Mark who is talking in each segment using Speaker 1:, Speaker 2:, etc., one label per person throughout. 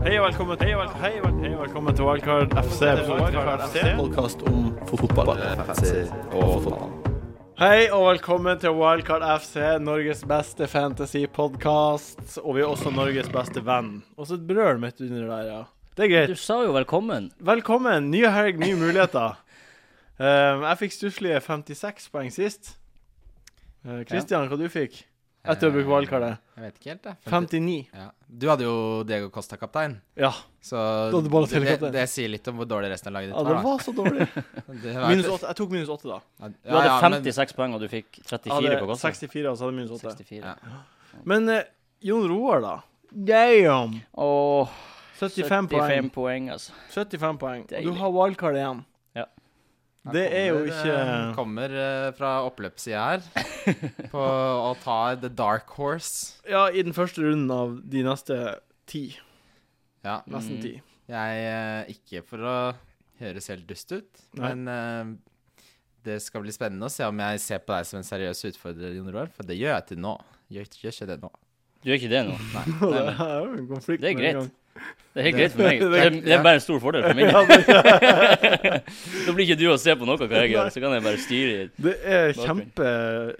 Speaker 1: Hei og velkommen til Wildcard hei, og vel- hei og velkommen til Wildcard FC. Wildcard FC.
Speaker 2: Podkast om fotball.
Speaker 1: Hei og velkommen til Wildcard FC, Norges beste fantasy-podkast. Og vi er også Norges beste venn. Og så et brøl midt under der, ja. Det er
Speaker 3: Du
Speaker 1: greit.
Speaker 3: sa jo velkommen.
Speaker 1: Velkommen. Ny helg, nye muligheter. Um, jeg fikk stusslige 56 poeng sist. Uh, Christian, hva du fikk etter å ha brukt wildcardet?
Speaker 4: Jeg vet ikke helt, jeg.
Speaker 1: 59.
Speaker 4: Ja. Du hadde jo Diego Costa kaptein,
Speaker 1: Ja.
Speaker 4: så
Speaker 1: hadde du bare
Speaker 4: det, det,
Speaker 1: telekaptein.
Speaker 4: det sier litt om hvor dårlig resten av laget ditt
Speaker 1: ja, det
Speaker 4: da.
Speaker 1: var så dårlig.
Speaker 4: Det var-
Speaker 1: Minus 8. Jeg tok minus 8, da.
Speaker 3: Du hadde 56 poeng, og du fikk 34
Speaker 1: Jeg
Speaker 3: på
Speaker 1: hadde
Speaker 3: godt.
Speaker 1: 64, og så hadde jeg minus 8.
Speaker 3: 64.
Speaker 4: Ja.
Speaker 1: Men eh, Jon Roar, da? Damn!
Speaker 3: Og
Speaker 1: 75 poeng.
Speaker 3: poeng, altså.
Speaker 1: 75 poeng. Og du
Speaker 3: Deilig.
Speaker 1: har wildcard igjen.
Speaker 3: Ja.
Speaker 1: Det er jo
Speaker 4: Han
Speaker 1: ikke
Speaker 4: kommer eh, fra oppløpssida her på å ta The Dark Horse.
Speaker 1: Ja, i den første runden av de neste ti.
Speaker 4: Ja.
Speaker 1: Nesten ti.
Speaker 4: Jeg eh, Ikke for å høres helt dust ut,
Speaker 1: Nei.
Speaker 4: men eh, det skal bli spennende å se om jeg ser på deg som en seriøs utfordrer, Jon Roar, for det gjør jeg til nå. Gjør, gjør ikke det nå.
Speaker 3: Du gjør ikke det nå.
Speaker 1: Det er jo en konflikt.
Speaker 3: Mm. Det er
Speaker 1: med en
Speaker 3: greit.
Speaker 1: gang.
Speaker 3: Det er helt greit for meg. Det er, det er bare en stor fordel for min.
Speaker 1: Ja, det,
Speaker 3: Da blir ikke du å se på noe hva jeg gjør, så kan jeg bare styre. i-
Speaker 1: det er kjempe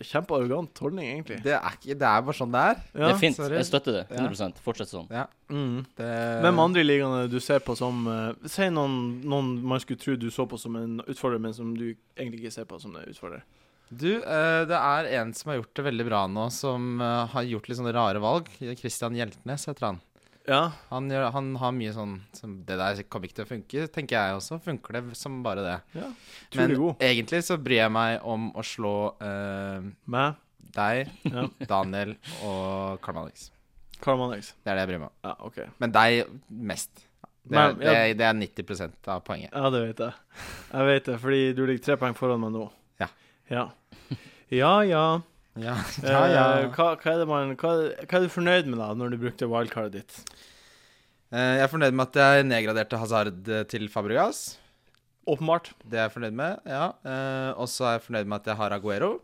Speaker 1: kjempearrogant holdning, egentlig.
Speaker 4: Det er, ikke, det er bare sånn det er.
Speaker 3: Det
Speaker 1: Ja.
Speaker 3: er fint.
Speaker 4: sorry.
Speaker 3: Jeg støtter det. 100 Fortsett sånn.
Speaker 1: Mm.
Speaker 4: Det,
Speaker 3: Eh.
Speaker 1: Hvem andre i ligaene du ser på som eh, Si noen, noen man skulle tro du så på som en utfordrer, men som du egentlig ikke ser på som en utfordrer.
Speaker 4: Du, eh, det er en som har gjort det veldig bra nå, som eh, har gjort litt sånne rare valg. Christian Hjeltnes heter han.
Speaker 1: Ja.
Speaker 4: Han, gjør, han har mye sånn som Det der kommer ikke til å funke, tenker jeg også. Funker det som bare det.
Speaker 1: ja.
Speaker 4: Men
Speaker 1: Utrolig god.
Speaker 4: egentlig så bryr jeg meg om å slå eh,
Speaker 1: Meg,
Speaker 4: deg,
Speaker 1: Ja.
Speaker 4: Daniel og Karl Alex.
Speaker 1: Karl Manex.
Speaker 4: Det er det jeg bryr meg om.
Speaker 1: Ja, OK.
Speaker 4: Men deg mest. Det er,
Speaker 1: Men,
Speaker 4: det er, det er 90 av poenget.
Speaker 1: Ja, det vet jeg. Jeg vet det, fordi du ligger tre poeng foran meg nå.
Speaker 4: Ja.
Speaker 1: Ja ja. ja.
Speaker 4: Ja,
Speaker 1: Eh, hva, hva, er det man, hva, hva er du fornøyd med da, når du brukte wildcardet ditt?
Speaker 4: Eh, jeg er fornøyd med at jeg nedgraderte Hazard eh, til Fabregas.
Speaker 1: Åpenbart.
Speaker 4: Det er jeg fornøyd med, ja. Eh, og så er jeg fornøyd med at jeg har Aguero.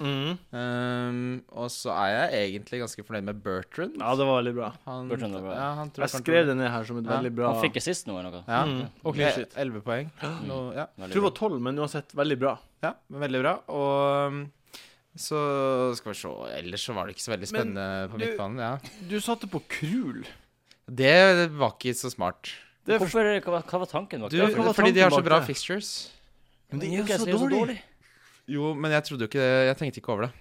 Speaker 1: Mhm.
Speaker 4: Ehm, og så er jeg egentlig ganske fornøyd med Bertrand.
Speaker 1: Ja, det var veldig bra.
Speaker 4: han,
Speaker 3: Bertrand er bra.
Speaker 4: Ja, han tror
Speaker 1: Jeg skrev det ned her som et
Speaker 4: Ja,
Speaker 1: veldig bra
Speaker 3: Han fikk assist nå eller noe.
Speaker 4: Ja.
Speaker 1: Mhm.
Speaker 4: Og
Speaker 1: Clean sheet.
Speaker 4: 11 poeng. Nå- ja.
Speaker 1: Jeg tror det
Speaker 3: Veldig bra.
Speaker 1: var tolv, men uansett veldig bra.
Speaker 4: ja, men veldig bra. Og um, så skal vi se Ellers så var det ikke så veldig
Speaker 1: Men
Speaker 4: spennende på
Speaker 1: du-
Speaker 4: midtbanen. Ja.
Speaker 1: Du satte på Krul.
Speaker 4: Det var ikke så smart.
Speaker 1: Det er for...
Speaker 3: Hvorfor, hva, hva var tanken bak
Speaker 4: Du,
Speaker 3: det?
Speaker 1: hva var
Speaker 4: fordi de har så
Speaker 1: tanken
Speaker 4: bra
Speaker 1: bak det?
Speaker 4: fixtures.
Speaker 1: Men det er
Speaker 3: Newcastle
Speaker 1: jo så dårlig.
Speaker 4: Jo, men jeg trodde jo ikke det. Jeg tenkte ikke over det.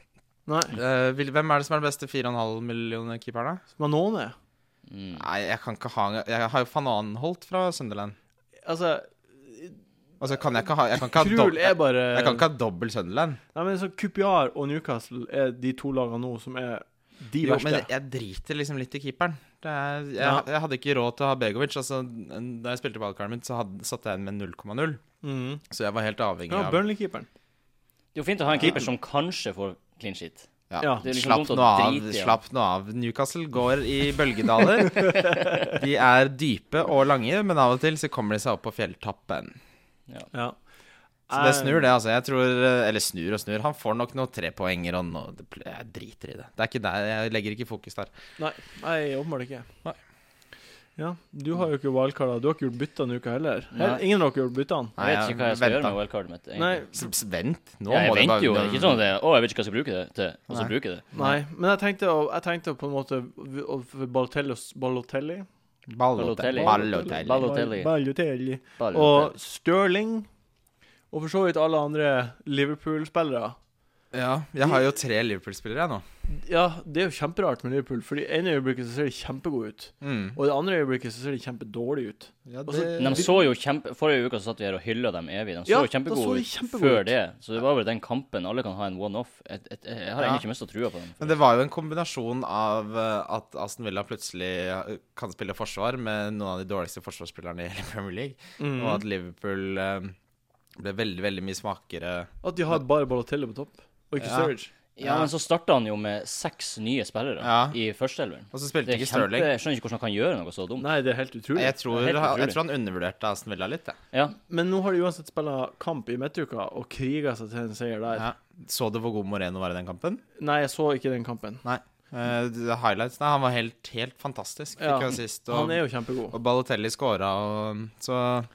Speaker 1: Nei.
Speaker 4: Eh, vil- hvem er det som er den beste 4,5 millioner-keeperen, da?
Speaker 1: Manone.
Speaker 3: Mm.
Speaker 4: Nei, jeg kan ikke ha Jeg har jo Van Anholt fra Sunderland.
Speaker 1: Altså,
Speaker 4: Altså, kan jeg ikke ha Jeg kan ikke ha,
Speaker 1: Krul
Speaker 4: dob
Speaker 1: er bare
Speaker 4: jeg kan ikke ha dobbel Sunderland.
Speaker 1: Nei, men så Kupiar og Newcastle er de to lagene nå som er de
Speaker 4: Jo,
Speaker 1: verste.
Speaker 4: men jeg driter liksom litt i keeperen. Det er, jeg,
Speaker 1: Ja.
Speaker 4: jeg hadde ikke råd til å ha Begovic. Altså, n- da jeg spilte valgkartet mitt, så hadde, satte jeg inn med 0,0.
Speaker 1: Mhm.
Speaker 4: Så jeg var helt avhengig
Speaker 1: Ja,
Speaker 4: av
Speaker 1: Burnley-keeperen.
Speaker 3: Det er jo fint å ha en keeper som kanskje får clean sheet.
Speaker 4: ja.
Speaker 1: Ja.
Speaker 3: Det er liksom
Speaker 4: slapp,
Speaker 3: dumt å
Speaker 4: nå av,
Speaker 3: drite i, ja.
Speaker 4: slapp nå av. Newcastle går i bølgedaler. de er dype og lange, men av og til så kommer de seg opp på fjelltappen.
Speaker 1: Ja.
Speaker 4: Så det snur, det. altså Jeg tror Eller snur og snur. Han får nok noen trepoenger og noe det pl- Jeg driter i det. Det er ikke der Jeg legger ikke fokus der.
Speaker 1: Nei, nei åpenbart ikke.
Speaker 4: Nei.
Speaker 1: Ja, Du har jo ikke wildcard. da. Du har ikke gjort bytta denne uka heller. Her,
Speaker 3: Nei.
Speaker 1: ingen av dere har gjort bytta.
Speaker 3: Jeg vet ikke hva jeg skal gjøre med wildcardet mitt. egentlig.
Speaker 1: Nei,
Speaker 4: Så- så Vent, nå
Speaker 3: Ja, jeg
Speaker 4: må du
Speaker 3: venter
Speaker 4: bare
Speaker 3: jo. Det er ikke sånn at jeg, å, jeg vet ikke hva jeg skal bruke det til, og så
Speaker 4: Nei.
Speaker 3: bruker jeg det.
Speaker 1: nei. Men jeg tenkte, å, jeg tenkte på en måte v- å- for Balotelli, og s- Balotelli.
Speaker 4: Ballotelli.
Speaker 3: Ballotelli.
Speaker 4: Ballotelli.
Speaker 3: Balotelli.
Speaker 1: Bal- Balotelli.
Speaker 3: Bare
Speaker 1: Og Stirling. Og for så vidt alle andre Liverpool-spillere.
Speaker 4: Ja, jeg har jo tre Liverpool-spillere, jeg nå.
Speaker 1: Ja, det er jo kjemperart med Liverpool, for i ene øyeblikket så ser de kjempegode ut.
Speaker 4: Mm.
Speaker 1: Og i det andre øyeblikket så ser de kjempedårlige ut.
Speaker 4: Ja,
Speaker 1: Og så-
Speaker 3: Men de så jo kjempe... Forrige uke så satt vi her og hylla dem evig. De så
Speaker 1: Ja,
Speaker 3: jo
Speaker 1: da så de
Speaker 3: kjempegode ut
Speaker 1: kjempegode ut.
Speaker 3: før det. Så det var vel den kampen. Alle kan ha en one-off. Et- et- Jeg har
Speaker 4: Ja.
Speaker 3: egentlig ikke mista trua på dem.
Speaker 4: Men det var jo en kombinasjon av eh, at Aston Villa plutselig eh, kan spille forsvar med noen av de dårligste forsvarsspillerne i hele Premier League, og
Speaker 3: Mm.
Speaker 4: at Liverpool eh, ble veldig, veldig mye svakere
Speaker 1: At de har bare Balotelli på topp, og ikke
Speaker 4: Ja.
Speaker 1: Sturridge.
Speaker 3: Ja, men så starta han jo med seks nye spillere
Speaker 4: Ja.
Speaker 3: i førsteelveren.
Speaker 4: Og
Speaker 3: Det
Speaker 4: så spilte
Speaker 3: er
Speaker 4: ikke
Speaker 3: kjempe...
Speaker 4: Stirling.
Speaker 3: Jeg skjønner ikke hvordan han kan gjøre noe så dumt.
Speaker 1: Nei, det er helt utrolig.
Speaker 4: Jeg tror,
Speaker 3: Det er helt
Speaker 4: jeg
Speaker 3: utrolig.
Speaker 4: tror han undervurderte Aston Villa litt, jeg.
Speaker 3: Ja.
Speaker 1: Men nå har de uansett spilla kamp i midtuka og kriga seg til en seier der.
Speaker 4: Ja. Så du hvor god Moreno var i den kampen?
Speaker 1: Nei, jeg så ikke den kampen.
Speaker 4: Nei. Eh, de highlightsene Han var helt, helt fantastisk. Fikk
Speaker 1: Ja.
Speaker 4: jo assist,
Speaker 1: Han
Speaker 4: og,
Speaker 1: er jo kjempegod.
Speaker 4: og Balotelli scora, og så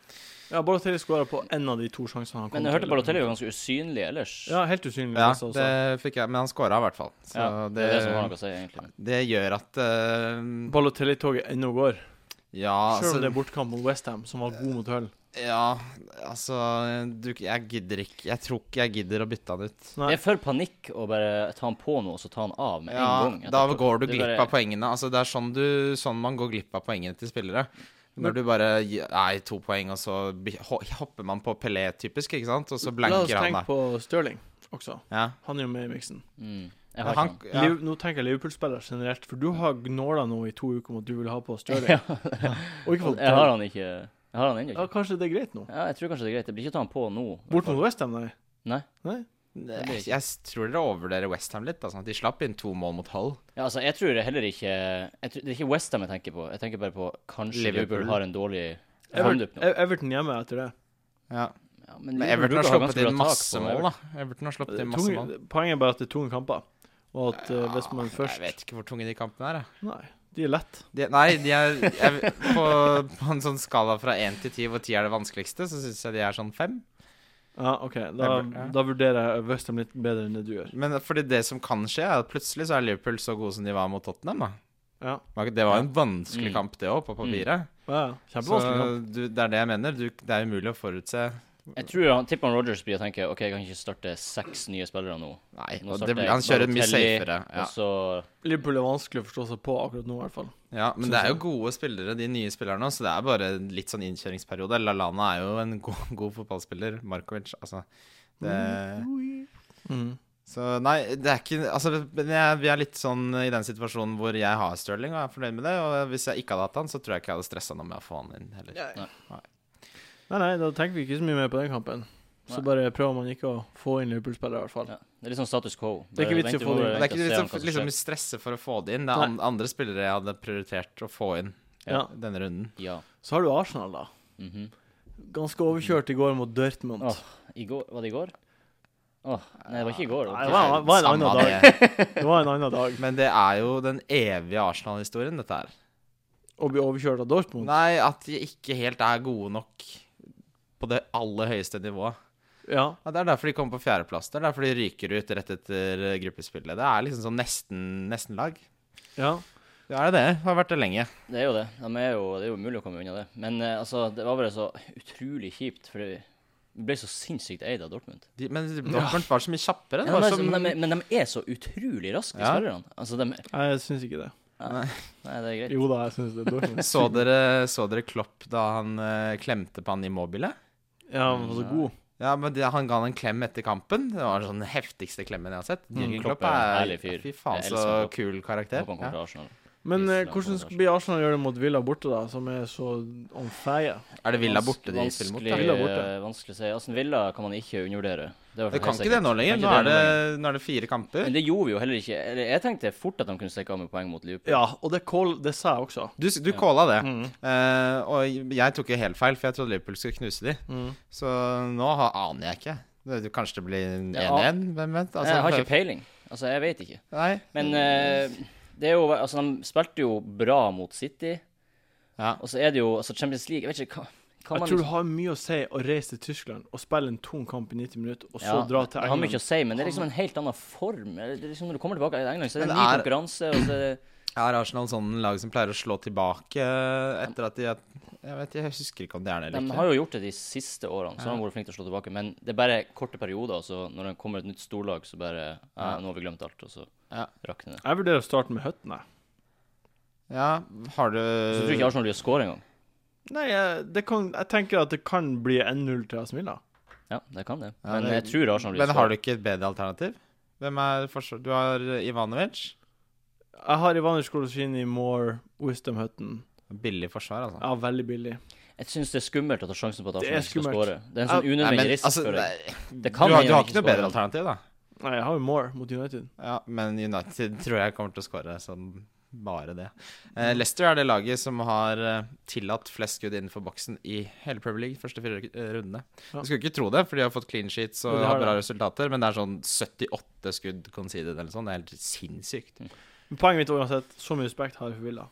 Speaker 1: Ja, Balotelli skåra på en av de to sjansene han kom
Speaker 3: Men jeg hørte
Speaker 1: til.
Speaker 3: Balotelli var ganske usynlig ellers.
Speaker 1: Ja, helt usynlig.
Speaker 4: Ja,
Speaker 1: altså,
Speaker 4: det fikk jeg. Men han scora i hvert fall. Så
Speaker 3: Ja, det,
Speaker 4: det,
Speaker 3: er det som har
Speaker 4: det,
Speaker 3: noe å si, egentlig.
Speaker 4: gjør at eh,
Speaker 1: Balotelli-toget ennå går.
Speaker 4: Ja,
Speaker 1: Selv om det
Speaker 4: altså
Speaker 1: er bortkamp mot Westham, som var god mot Hull.
Speaker 4: Ja, altså du, Jeg gidder ikke Jeg tror ikke jeg gidder å bytte han ut.
Speaker 1: Nei.
Speaker 3: Det er for panikk å bare ta han på nå, og så ta han av med
Speaker 4: Ja,
Speaker 3: en gang.
Speaker 4: da
Speaker 3: etterpå.
Speaker 4: går du
Speaker 3: Det er
Speaker 4: glipp
Speaker 3: bare-
Speaker 4: av poengene. Altså, det er sånn, du, sånn man går glipp av poengene til spillere. Når du bare gi- Nei, to poeng, og så bi- ho- hopper man på Pelé, typisk, ikke sant? Og så
Speaker 1: La oss
Speaker 4: blanker han,
Speaker 1: tenke
Speaker 4: da.
Speaker 1: på Stirling også.
Speaker 4: Ja.
Speaker 1: Han er jo med i miksen.
Speaker 3: Mm, jeg har
Speaker 4: Han,
Speaker 3: ikke
Speaker 4: ja.
Speaker 1: Liv- Nå tenker jeg Liverpool-spillere generelt, for du har gnåla nå i to uker om at du vil ha på Stirling.
Speaker 3: Ja.
Speaker 1: Og ikke
Speaker 3: han.
Speaker 1: fått
Speaker 3: Jeg har han ikke Jeg har han ennå
Speaker 1: Ja,
Speaker 3: ikke.
Speaker 1: kanskje det er greit nå?
Speaker 3: Ja, jeg tror kanskje det er greit. Jeg blir ikke ta han på nå.
Speaker 1: Bort mot Westham, nei?
Speaker 3: Nei.
Speaker 1: nei?
Speaker 4: Jeg, jeg s- tror dere overvurderer Westham litt. Altså. De slapp inn to mål mot Hull.
Speaker 3: Ja, altså, jeg tror heller ikke jeg tror, Det er ikke Westham jeg tenker på. Jeg tenker bare på kanskje Liverpool,
Speaker 4: Liverpool.
Speaker 3: har en dårlig
Speaker 1: Everton,
Speaker 3: framdupp nå.
Speaker 1: Everton hjemme etter det.
Speaker 4: Ja.
Speaker 3: Ja,
Speaker 4: Men
Speaker 3: Liverpool
Speaker 4: Everton har
Speaker 3: bruker å ha
Speaker 4: sluppet
Speaker 3: ganske
Speaker 4: inn
Speaker 3: bra tak
Speaker 4: masse
Speaker 3: på
Speaker 4: mål,
Speaker 3: Everton.
Speaker 4: da. Everton har sluppet inn masse mål.
Speaker 1: Tunge, poenget er bare at det er tunge kamper, og at eh, hvis man
Speaker 4: Jeg
Speaker 1: først
Speaker 4: vet ikke hvor tunge de kampene er. jeg.
Speaker 1: Nei, de er lett.
Speaker 4: De, nei, de er jeg, på, på en sånn skala fra én til ti, hvor ti er det vanskeligste, så syns jeg de er sånn fem.
Speaker 1: Ja, OK, da,
Speaker 4: Det er bra, ja.
Speaker 1: da vurderer jeg Westham litt bedre enn det du gjør.
Speaker 4: Men fordi det som kan skje, er at plutselig så er Liverpool så gode som de var mot Tottenham. Da.
Speaker 1: Ja,
Speaker 4: Var ikke- Det var jo en vanskelig
Speaker 3: Mm.
Speaker 4: kamp, det òg, på papiret.
Speaker 1: ja, ja.
Speaker 4: Så
Speaker 1: Kjempevanskelig kamp.
Speaker 4: du, det er det jeg mener. Du, det er umulig å forutse.
Speaker 3: Jeg tror han, tipper han Rogers blir å tenke OK, jeg kan ikke starte seks nye spillere nå.
Speaker 4: Nei,
Speaker 3: Nå
Speaker 4: og
Speaker 3: starter
Speaker 4: det, blir- han kjører mye
Speaker 3: Balotelli,
Speaker 4: safere. Ja.
Speaker 3: Og så
Speaker 1: Liverpool er vanskelig å forstå seg på akkurat nå, i hvert fall.
Speaker 4: ja, Men det er jo gode spillere, de nye spillerne òg, så det er bare en litt sånn innkjøringsperiode. Lallana er jo en god, god fotballspiller. Markovic, altså. Det,
Speaker 1: Mm.
Speaker 4: så nei, det er ikke Altså, men jeg, vi er litt sånn i den situasjonen hvor jeg har Sterling og er fornøyd med det. Og hvis jeg ikke hadde hatt han, så tror jeg ikke jeg hadde stressa noe med å få han inn heller.
Speaker 1: Nei, nei, da tenker vi ikke så mye mer på den kampen. Så
Speaker 3: Nei.
Speaker 1: bare prøver man ikke å få inn Liverpool-spillere, i hvert fall.
Speaker 3: ja. Det er litt sånn status quo.
Speaker 1: Det er ikke
Speaker 3: Bare
Speaker 1: vits i å
Speaker 3: vente-
Speaker 1: få det
Speaker 3: bare
Speaker 1: inn.
Speaker 4: Det
Speaker 3: vente
Speaker 4: er
Speaker 3: og
Speaker 4: ikke
Speaker 3: se hva
Speaker 4: liksom,
Speaker 3: som
Speaker 4: liksom
Speaker 3: skjer.
Speaker 4: stresse for å få det inn. Det er an andre spillere jeg hadde prioritert å få inn
Speaker 1: Ja.
Speaker 4: denne runden.
Speaker 3: Ja.
Speaker 1: Så har du Arsenal, da.
Speaker 3: mhm.
Speaker 1: Ganske overkjørt i går mot Dortmund.
Speaker 3: Åh, I går Var det i går? Åh, nei, det var ikke i går.
Speaker 1: Nei, det var, det var en
Speaker 4: Samme
Speaker 1: annen dag.
Speaker 4: det.
Speaker 1: Det var en annen dag
Speaker 4: Men det er jo den evige Arsenal-historien, dette her.
Speaker 1: å bli overkjørt av Dortmund.
Speaker 4: Nei, at de ikke helt er gode nok på det aller høyeste nivået.
Speaker 1: Ja,
Speaker 4: Ja, det er derfor de kommer på fjerdeplass. Det er derfor de ryker ut rett etter eh, gruppespillet. Det er liksom sånn nesten- nesten-lag.
Speaker 1: ja.
Speaker 4: ja, det er det. Det har vært det lenge.
Speaker 3: Det er jo det. De er jo, det er jo umulig å komme unna det. Men eh, altså, det var bare så utrolig kjipt, for vi ble så sinnssykt eid av Dortmund.
Speaker 4: De, men Dortmund var så mye kjappere. Det
Speaker 3: Ja,
Speaker 4: var
Speaker 3: men, altså,
Speaker 4: så,
Speaker 3: men, de, men de er så utrolig raske,
Speaker 4: Ja.
Speaker 3: spillerne. Altså, de
Speaker 1: Nei, jeg syns ikke det.
Speaker 3: Nei, det er greit.
Speaker 1: Jo da, jeg syns det er Dortmund.
Speaker 4: så, dere, så dere Klopp da han eh, klemte på han Immobile?
Speaker 1: Ja, han var så god.
Speaker 4: Ja, men det, han ga han en klem etter kampen. Det var den sånn heftigste klemmen jeg har sett. Jürgen
Speaker 3: Mm. Klopp
Speaker 4: Klopp
Speaker 3: er en
Speaker 4: er
Speaker 3: herlig fyr.
Speaker 4: Fy faen,
Speaker 3: Jeg
Speaker 4: så
Speaker 3: elsker Klopp.
Speaker 4: kul
Speaker 3: Jeg
Speaker 4: karakter.
Speaker 3: håper han kommer
Speaker 4: Ja.
Speaker 3: til Arsenal.
Speaker 1: Men eh,
Speaker 3: Island
Speaker 1: hvordan
Speaker 3: og
Speaker 1: blir Arsenal gjøre det mot Villa borte, da, som er så on fire?
Speaker 4: Er det Villa
Speaker 3: Vans-
Speaker 4: borte de spiller mot?
Speaker 3: vanskelig- eh,
Speaker 4: Da?
Speaker 1: Villa borte.
Speaker 3: Vanskelig å si. Aston Villa kan man ikke undervurdere. Det, er i hvert
Speaker 4: Du
Speaker 3: fall
Speaker 4: kan
Speaker 3: helt
Speaker 4: ikke det
Speaker 3: sikkert.
Speaker 4: nå lenger.
Speaker 3: Kan
Speaker 4: Nå
Speaker 3: ikke
Speaker 4: er
Speaker 3: det
Speaker 4: det,
Speaker 3: nå
Speaker 4: nå er det fire kamper.
Speaker 3: Men det gjorde vi jo heller ikke. Eller, jeg tenkte fort at de kunne stikke av med poeng mot Liverpool.
Speaker 1: Ja, og det, call, det sa jeg også.
Speaker 4: Du, du calla det.
Speaker 3: Mm.
Speaker 4: Eh, og jeg tok jo helt feil, for jeg trodde Liverpool skulle knuse de.
Speaker 3: Mm.
Speaker 4: Så nå har, aner jeg ikke. Det, du, kanskje det blir 1-1?
Speaker 3: Ja.
Speaker 4: Hvem vet? Altså,
Speaker 3: Eh, jeg har ikke peiling. Altså, jeg vet ikke.
Speaker 4: Nei.
Speaker 3: Men eh, det er jo Altså, de spilte jo bra mot City,
Speaker 4: Ja.
Speaker 3: og så er det jo altså Champions League Jeg vet ikke hva, hva liksom-
Speaker 1: Jeg tror det har mye å si å reise til Tyskland og spille en tung kamp i 90 minutter, og så dra til
Speaker 3: Det har mye
Speaker 1: England.
Speaker 3: å si, men det er liksom en helt annen form. Det er liksom Når du kommer tilbake til England, så er det
Speaker 4: Men
Speaker 3: en ny
Speaker 4: er-
Speaker 3: konkurranse. Og så er det,
Speaker 4: Er Arsenal sånn lag som pleier å slå tilbake eh, etter at de er- Jeg vet, jeg husker ikke om de er det
Speaker 3: de
Speaker 4: eller ikke.
Speaker 3: har jo gjort det de siste årene, så de har vært flinke til å slå tilbake. Men det er bare korte perioder. Så når det kommer et nytt storlag, så bare ja, Nå har vi glemt alt, og så
Speaker 4: Ja.
Speaker 3: rakner det.
Speaker 1: Jeg vurderer å starte med Høtten, jeg.
Speaker 4: Ja, har du
Speaker 3: Så tror jeg ikke Arsenal blir å score engang.
Speaker 1: Nei, jeg, det kan, jeg tenker at det kan bli 1-0 til Aston Villa.
Speaker 3: Ja, det kan det.
Speaker 4: Ja,
Speaker 3: Men
Speaker 4: det-
Speaker 3: jeg tror Arsenal blir
Speaker 4: Men
Speaker 3: å
Speaker 4: har du
Speaker 3: score.
Speaker 4: ikke et bedre alternativ? Hvem er forsvar... Du har Ivanovic.
Speaker 1: Jeg har Ivanic Kolosjini, Moore, Wisdom Hutton.
Speaker 4: Billig forsvar, altså.
Speaker 1: Ja, veldig billig.
Speaker 3: Jeg syns det er skummelt å ta sjansen på at
Speaker 1: Det er
Speaker 3: Arsenal skal
Speaker 1: skummelt.
Speaker 3: score. Det er en
Speaker 1: Ja,
Speaker 3: sånn
Speaker 4: Nei,
Speaker 3: unødvendig
Speaker 4: men
Speaker 3: risk,
Speaker 4: altså
Speaker 3: føler jeg.
Speaker 4: det-
Speaker 3: Det
Speaker 4: Du
Speaker 3: kan
Speaker 4: har,
Speaker 3: hende
Speaker 4: du har
Speaker 3: de
Speaker 4: ikke noe
Speaker 3: scorer.
Speaker 4: bedre alternativ, da.
Speaker 1: Nei, jeg har jo Moore mot United.
Speaker 4: Ja, men United tror jeg kommer til å skåre som bare det. Eh, Leicester er det laget som har eh, tillatt flest skudd innenfor boksen i hele Premier League, første fire eh, rundene.
Speaker 1: Ja.
Speaker 4: Du skulle ikke tro det, for de har fått clean sheets og
Speaker 1: Men de har
Speaker 4: har bra
Speaker 1: det.
Speaker 4: resultater, men det er sånn 78 skudd conceded eller sånn. Det er helt sinnssykt.
Speaker 1: Men Poenget mitt er uansett, så mye respekt har jeg for Villa.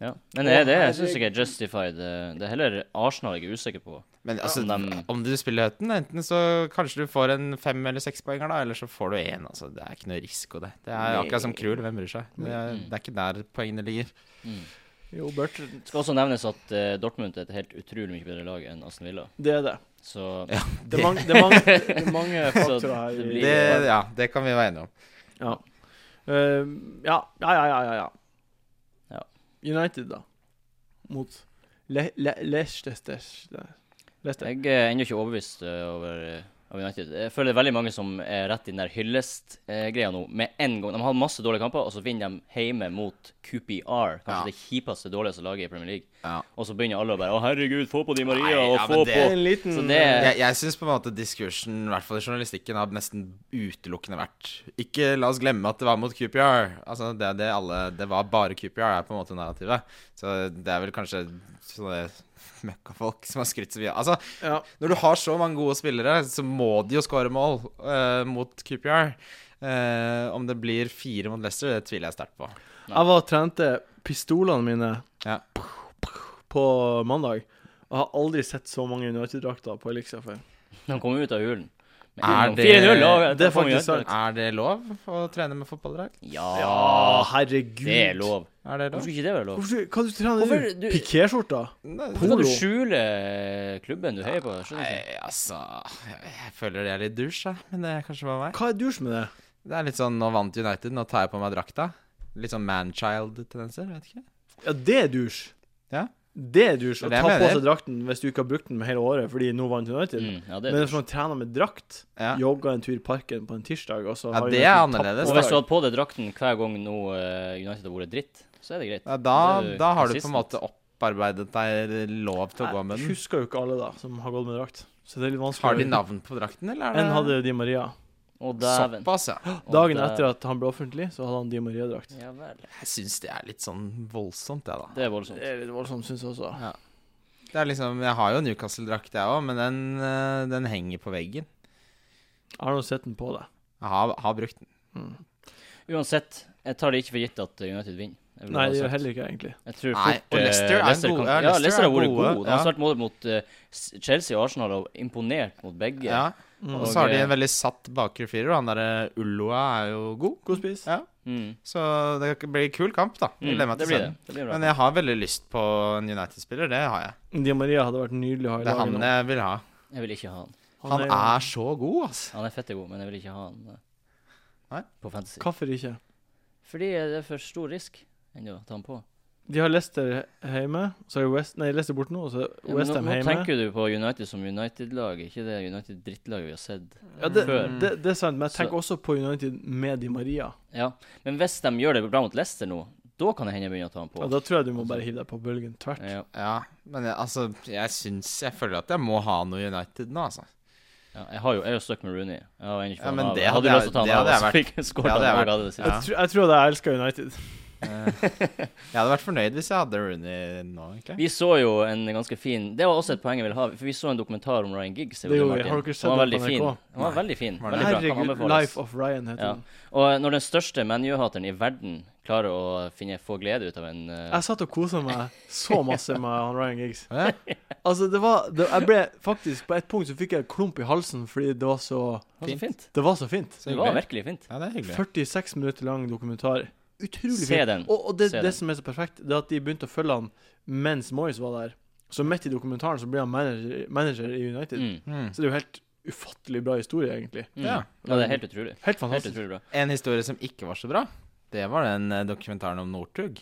Speaker 3: Ja. Men det, det jeg syns ikke er justified. eh, Det er heller Arsenal jeg er usikker på.
Speaker 4: Men altså,
Speaker 3: Ja, men dem-
Speaker 4: om du spiller Hutton, enten så kanskje du får en fem- eller sekspoenger, da, eller så får du én. Altså, det er ikke noe risiko, det. Det er akkurat som Krul, hvem bryr seg? Det
Speaker 1: Mm.
Speaker 4: er, det er ikke der poengene ligger.
Speaker 1: Jo, Bert,
Speaker 3: Det Mm. skal også nevnes at eh, Dortmund er et helt utrolig mye bedre lag enn Aston Villa.
Speaker 1: det er det.
Speaker 3: Så
Speaker 1: Det er mange, det er mange, det er mange faktorer her.
Speaker 3: det
Speaker 1: i-
Speaker 3: blir-
Speaker 4: Det, ja, det kan vi være enige om.
Speaker 1: Ja. Eh, ja. Ja, ja, ja, ja, ja.
Speaker 3: Ja.
Speaker 1: United, da. Mot Le Le Leicester. Leicester.
Speaker 3: jeg er ennå ikke overbevist eh, over eh, av United. Jeg føler det er veldig mange som er rett i den der hyllest-greia nå med en gang. De har masse dårlige kamper, og så vinner de hjemme mot QPR, kanskje
Speaker 4: Ja.
Speaker 3: det kjipeste, dårligste laget i Premier League.
Speaker 4: Ja.
Speaker 3: Og så begynner alle å bare Å, herregud, få på Di Maria,
Speaker 4: Nei,
Speaker 3: og
Speaker 4: ja,
Speaker 3: få
Speaker 4: men det-
Speaker 3: på
Speaker 1: En liten
Speaker 3: Så det
Speaker 4: Jeg, jeg syns på en måte diskursen, i hvert fall i journalistikken, har nesten utelukkende vært Ikke la oss glemme at det var mot QPR. Altså, det, er det, alle, det var bare QPR, er på en måte narrativet. Så det er vel kanskje sånne møkkafolk som har skrytt så mye. Altså,
Speaker 1: ja.
Speaker 4: når du har så mange gode spillere, så må de jo skåre mål eh, mot QPR. Eh, om det blir fire mot Leicester, det tviler jeg sterkt på.
Speaker 1: Jeg var og trente pistolene mine
Speaker 4: Ja.
Speaker 1: på mandag. Og har aldri sett så mange United-drakter på Elixia før.
Speaker 3: De kommer ut av hulen. Med
Speaker 4: Er
Speaker 3: en gang.
Speaker 4: det-
Speaker 3: 4-0, ja,
Speaker 1: det er
Speaker 3: da får vi
Speaker 1: faktisk
Speaker 3: United.
Speaker 4: Er det lov å trene med fotballdrakt?
Speaker 1: Ja,
Speaker 3: Ja,
Speaker 1: herregud.
Speaker 3: det er lov.
Speaker 4: Er det
Speaker 3: Hvorfor
Speaker 4: lov?
Speaker 3: skulle ikke det være lov?
Speaker 1: Hvorfor, hva du trener
Speaker 3: Hvorfor
Speaker 1: du?
Speaker 3: du-
Speaker 1: Pikéskjorta?
Speaker 4: Nei,
Speaker 3: Hvorfor kan du
Speaker 1: Polo.
Speaker 3: skjule eh, klubben du heier på? Jeg skjønner ikke.
Speaker 4: Nei, altså Jeg jeg føler det er litt dusj, jeg. Men det er kanskje bare meg.
Speaker 1: Hva er dusj med det?
Speaker 4: Det er litt sånn Nå vant United, nå tar jeg på meg drakta. Litt sånn manchild-tendenser, vet ikke.
Speaker 1: Ja, det er dusj.
Speaker 4: Ja.
Speaker 1: Det er dusj. Å
Speaker 4: Det er det
Speaker 1: ta
Speaker 4: jeg
Speaker 1: på
Speaker 4: mener.
Speaker 1: seg drakten hvis du ikke har brukt den hele året fordi nå vant United.
Speaker 3: Mm, ja, det
Speaker 1: Men
Speaker 3: er
Speaker 1: hvis man trener med drakt,
Speaker 4: Ja.
Speaker 1: jogga en tur i parken på en tirsdag og så
Speaker 4: Ja,
Speaker 1: har
Speaker 4: det
Speaker 1: United
Speaker 4: er
Speaker 1: tapt
Speaker 4: annerledes.
Speaker 1: på
Speaker 3: Og hvis du
Speaker 1: lag.
Speaker 3: hadde på deg drakten hver gang nå eh, United har vært dritt, så er det greit.
Speaker 4: Ja, da,
Speaker 3: Det er
Speaker 4: da har du på en
Speaker 3: consistent.
Speaker 4: måte opparbeidet deg lov til å gå med
Speaker 1: Jeg
Speaker 4: den.
Speaker 1: husker jo ikke alle da som har gått med drakt, så det er litt vanskelig.
Speaker 4: Har de navn på drakten, eller er det
Speaker 1: En hadde jo Di Maria.
Speaker 3: Og dæven.
Speaker 4: Såpass, ja.
Speaker 3: Og
Speaker 1: Dagen
Speaker 3: dæ-
Speaker 1: etter at han ble offentlig, så hadde han Di Maria-drakt.
Speaker 3: Ja vel.
Speaker 4: Jeg syns det er litt sånn voldsomt, jeg, da.
Speaker 3: Det er voldsomt.
Speaker 1: Det er litt voldsomt, syns jeg også.
Speaker 4: Det er liksom, Jeg har jo Newcastle-drakt, jeg òg, men den, eh, den henger på veggen.
Speaker 1: Jeg har nå sett den på deg.
Speaker 4: Jeg har, har brukt den.
Speaker 3: Uansett, jeg tar det ikke for gitt at United vinner. Jeg vil
Speaker 1: Nei,
Speaker 3: bare
Speaker 1: det
Speaker 3: si.
Speaker 1: gjør heller ikke jeg, egentlig.
Speaker 3: Jeg tror
Speaker 4: Nei,
Speaker 3: fort,
Speaker 4: og
Speaker 3: eh,
Speaker 4: Leicester er
Speaker 3: Leicester
Speaker 4: gode.
Speaker 3: kan-
Speaker 4: Ja,
Speaker 3: Ja,
Speaker 4: Leicester
Speaker 3: Leicester har
Speaker 4: er
Speaker 3: vært
Speaker 4: gode.
Speaker 3: gode. De har
Speaker 4: Ja.
Speaker 3: spilt mot, mot eh, S- Chelsea og Arsenal og imponert mot begge. eh,
Speaker 4: Ja. Og
Speaker 1: Mm.
Speaker 4: så har de en veldig satt bakre firer. og Han derre Ulloa er jo god.
Speaker 1: God spis.
Speaker 4: Ja.
Speaker 3: Mm.
Speaker 4: Så det blir kul kamp, da. Jeg
Speaker 3: Mm,
Speaker 4: Gleder meg
Speaker 3: det blir
Speaker 4: til å se
Speaker 3: det.
Speaker 4: den.
Speaker 3: det blir bra.
Speaker 4: Men jeg har veldig lyst på en United-spiller. Det har jeg.
Speaker 1: Di Maria hadde vært nydelig å ha i
Speaker 4: Det er
Speaker 1: laget
Speaker 4: han
Speaker 1: nå.
Speaker 4: jeg vil ha.
Speaker 3: Jeg vil ikke ha han.
Speaker 4: Han er så god, altså.
Speaker 3: Han er fette god, men jeg vil ikke ha han eh,
Speaker 4: Nei?
Speaker 3: på fantasy.
Speaker 1: Hvorfor ikke?
Speaker 3: Fordi eh, det er for stor risk ennå å ta han på.
Speaker 1: De har Leicester hjemme, så er jo West, nei, Leicester borte nå, og så
Speaker 3: Ja,
Speaker 1: er
Speaker 3: men
Speaker 1: West
Speaker 3: nå,
Speaker 1: Ham
Speaker 3: nå
Speaker 1: hjemme.
Speaker 3: tenker du på United som United-lag, ikke det United-drittlaget vi har sett.
Speaker 1: Ja, det,
Speaker 3: før.
Speaker 1: det, det er sant, men jeg
Speaker 3: Så-
Speaker 1: tenker også på United med Di Maria.
Speaker 3: Ja, Men hvis de gjør det bra mot Leicester nå, da kan det hende jeg begynner å ta han på. Altså.
Speaker 1: Ja, da tror jeg du må bare hive deg på bølgen tvert.
Speaker 3: Ja,
Speaker 4: Ja, men jeg, altså, jeg syns Jeg føler at jeg må ha noe United nå, altså.
Speaker 3: ja, jeg har jo, jeg er jo stuck med Rooney. Jeg har ennå ikke
Speaker 4: Ja,
Speaker 3: fått
Speaker 4: men
Speaker 3: han av.
Speaker 4: det
Speaker 3: Jeg hadde
Speaker 4: hadde
Speaker 3: jo lyst til
Speaker 4: jeg-
Speaker 3: å ta han
Speaker 4: det
Speaker 3: av,
Speaker 4: hadde
Speaker 3: og så
Speaker 4: jeg
Speaker 3: fikk jeg skåret
Speaker 4: Det hadde
Speaker 3: han
Speaker 4: jeg
Speaker 3: også, av det siste.
Speaker 4: Ja.
Speaker 1: Jeg, tror, jeg tror at jeg elsker United.
Speaker 4: Eh, Jeg hadde vært fornøyd hvis jeg hadde Rooney nå, egentlig.
Speaker 3: Vi så jo en ganske fin Det var også et poeng jeg ville ha, for vi så en dokumentar om Ryan Giggs.
Speaker 1: Det gjorde vi. Har dere sett
Speaker 3: han var
Speaker 1: den
Speaker 3: veldig
Speaker 1: på
Speaker 3: fin.
Speaker 1: NRK?
Speaker 3: Han var veldig fin.
Speaker 4: Var det-
Speaker 3: Veldig bra. Kan
Speaker 1: Herregud,
Speaker 3: anbefales.
Speaker 1: Life of Ryan heter
Speaker 3: Ja.
Speaker 1: den.
Speaker 3: Og når den største ManU-hateren i verden klarer å finne, få glede ut av en eh,
Speaker 1: Jeg satt og kosa meg så masse med han Ryan Giggs.
Speaker 4: Ja.
Speaker 1: Altså, det var det, Jeg ble faktisk På et punkt så fikk jeg klump i halsen fordi det var så
Speaker 3: Det var så fint.
Speaker 1: Det var så fint.
Speaker 4: Så
Speaker 3: Det var
Speaker 4: hyggelig.
Speaker 3: virkelig fint.
Speaker 4: Ja, det er hyggelig.
Speaker 1: 46 minutter lang dokumentar. Utrolig
Speaker 3: Se
Speaker 1: fint.
Speaker 3: den.
Speaker 1: Og, og det,
Speaker 3: Se den.
Speaker 1: det som er så perfekt, det er at de begynte å følge han mens Moyes var der. Så midt i dokumentaren så ble han manager, manager i United.
Speaker 3: Mm.
Speaker 4: Mm.
Speaker 1: Så det er jo helt ufattelig bra historie, egentlig.
Speaker 3: Mm.
Speaker 4: Ja.
Speaker 3: Ja. det er helt utrolig.
Speaker 1: Helt
Speaker 3: Helt
Speaker 1: fantastisk.
Speaker 3: utrolig bra.
Speaker 4: En historie som ikke var så bra, det var den eh, dokumentaren om Northug.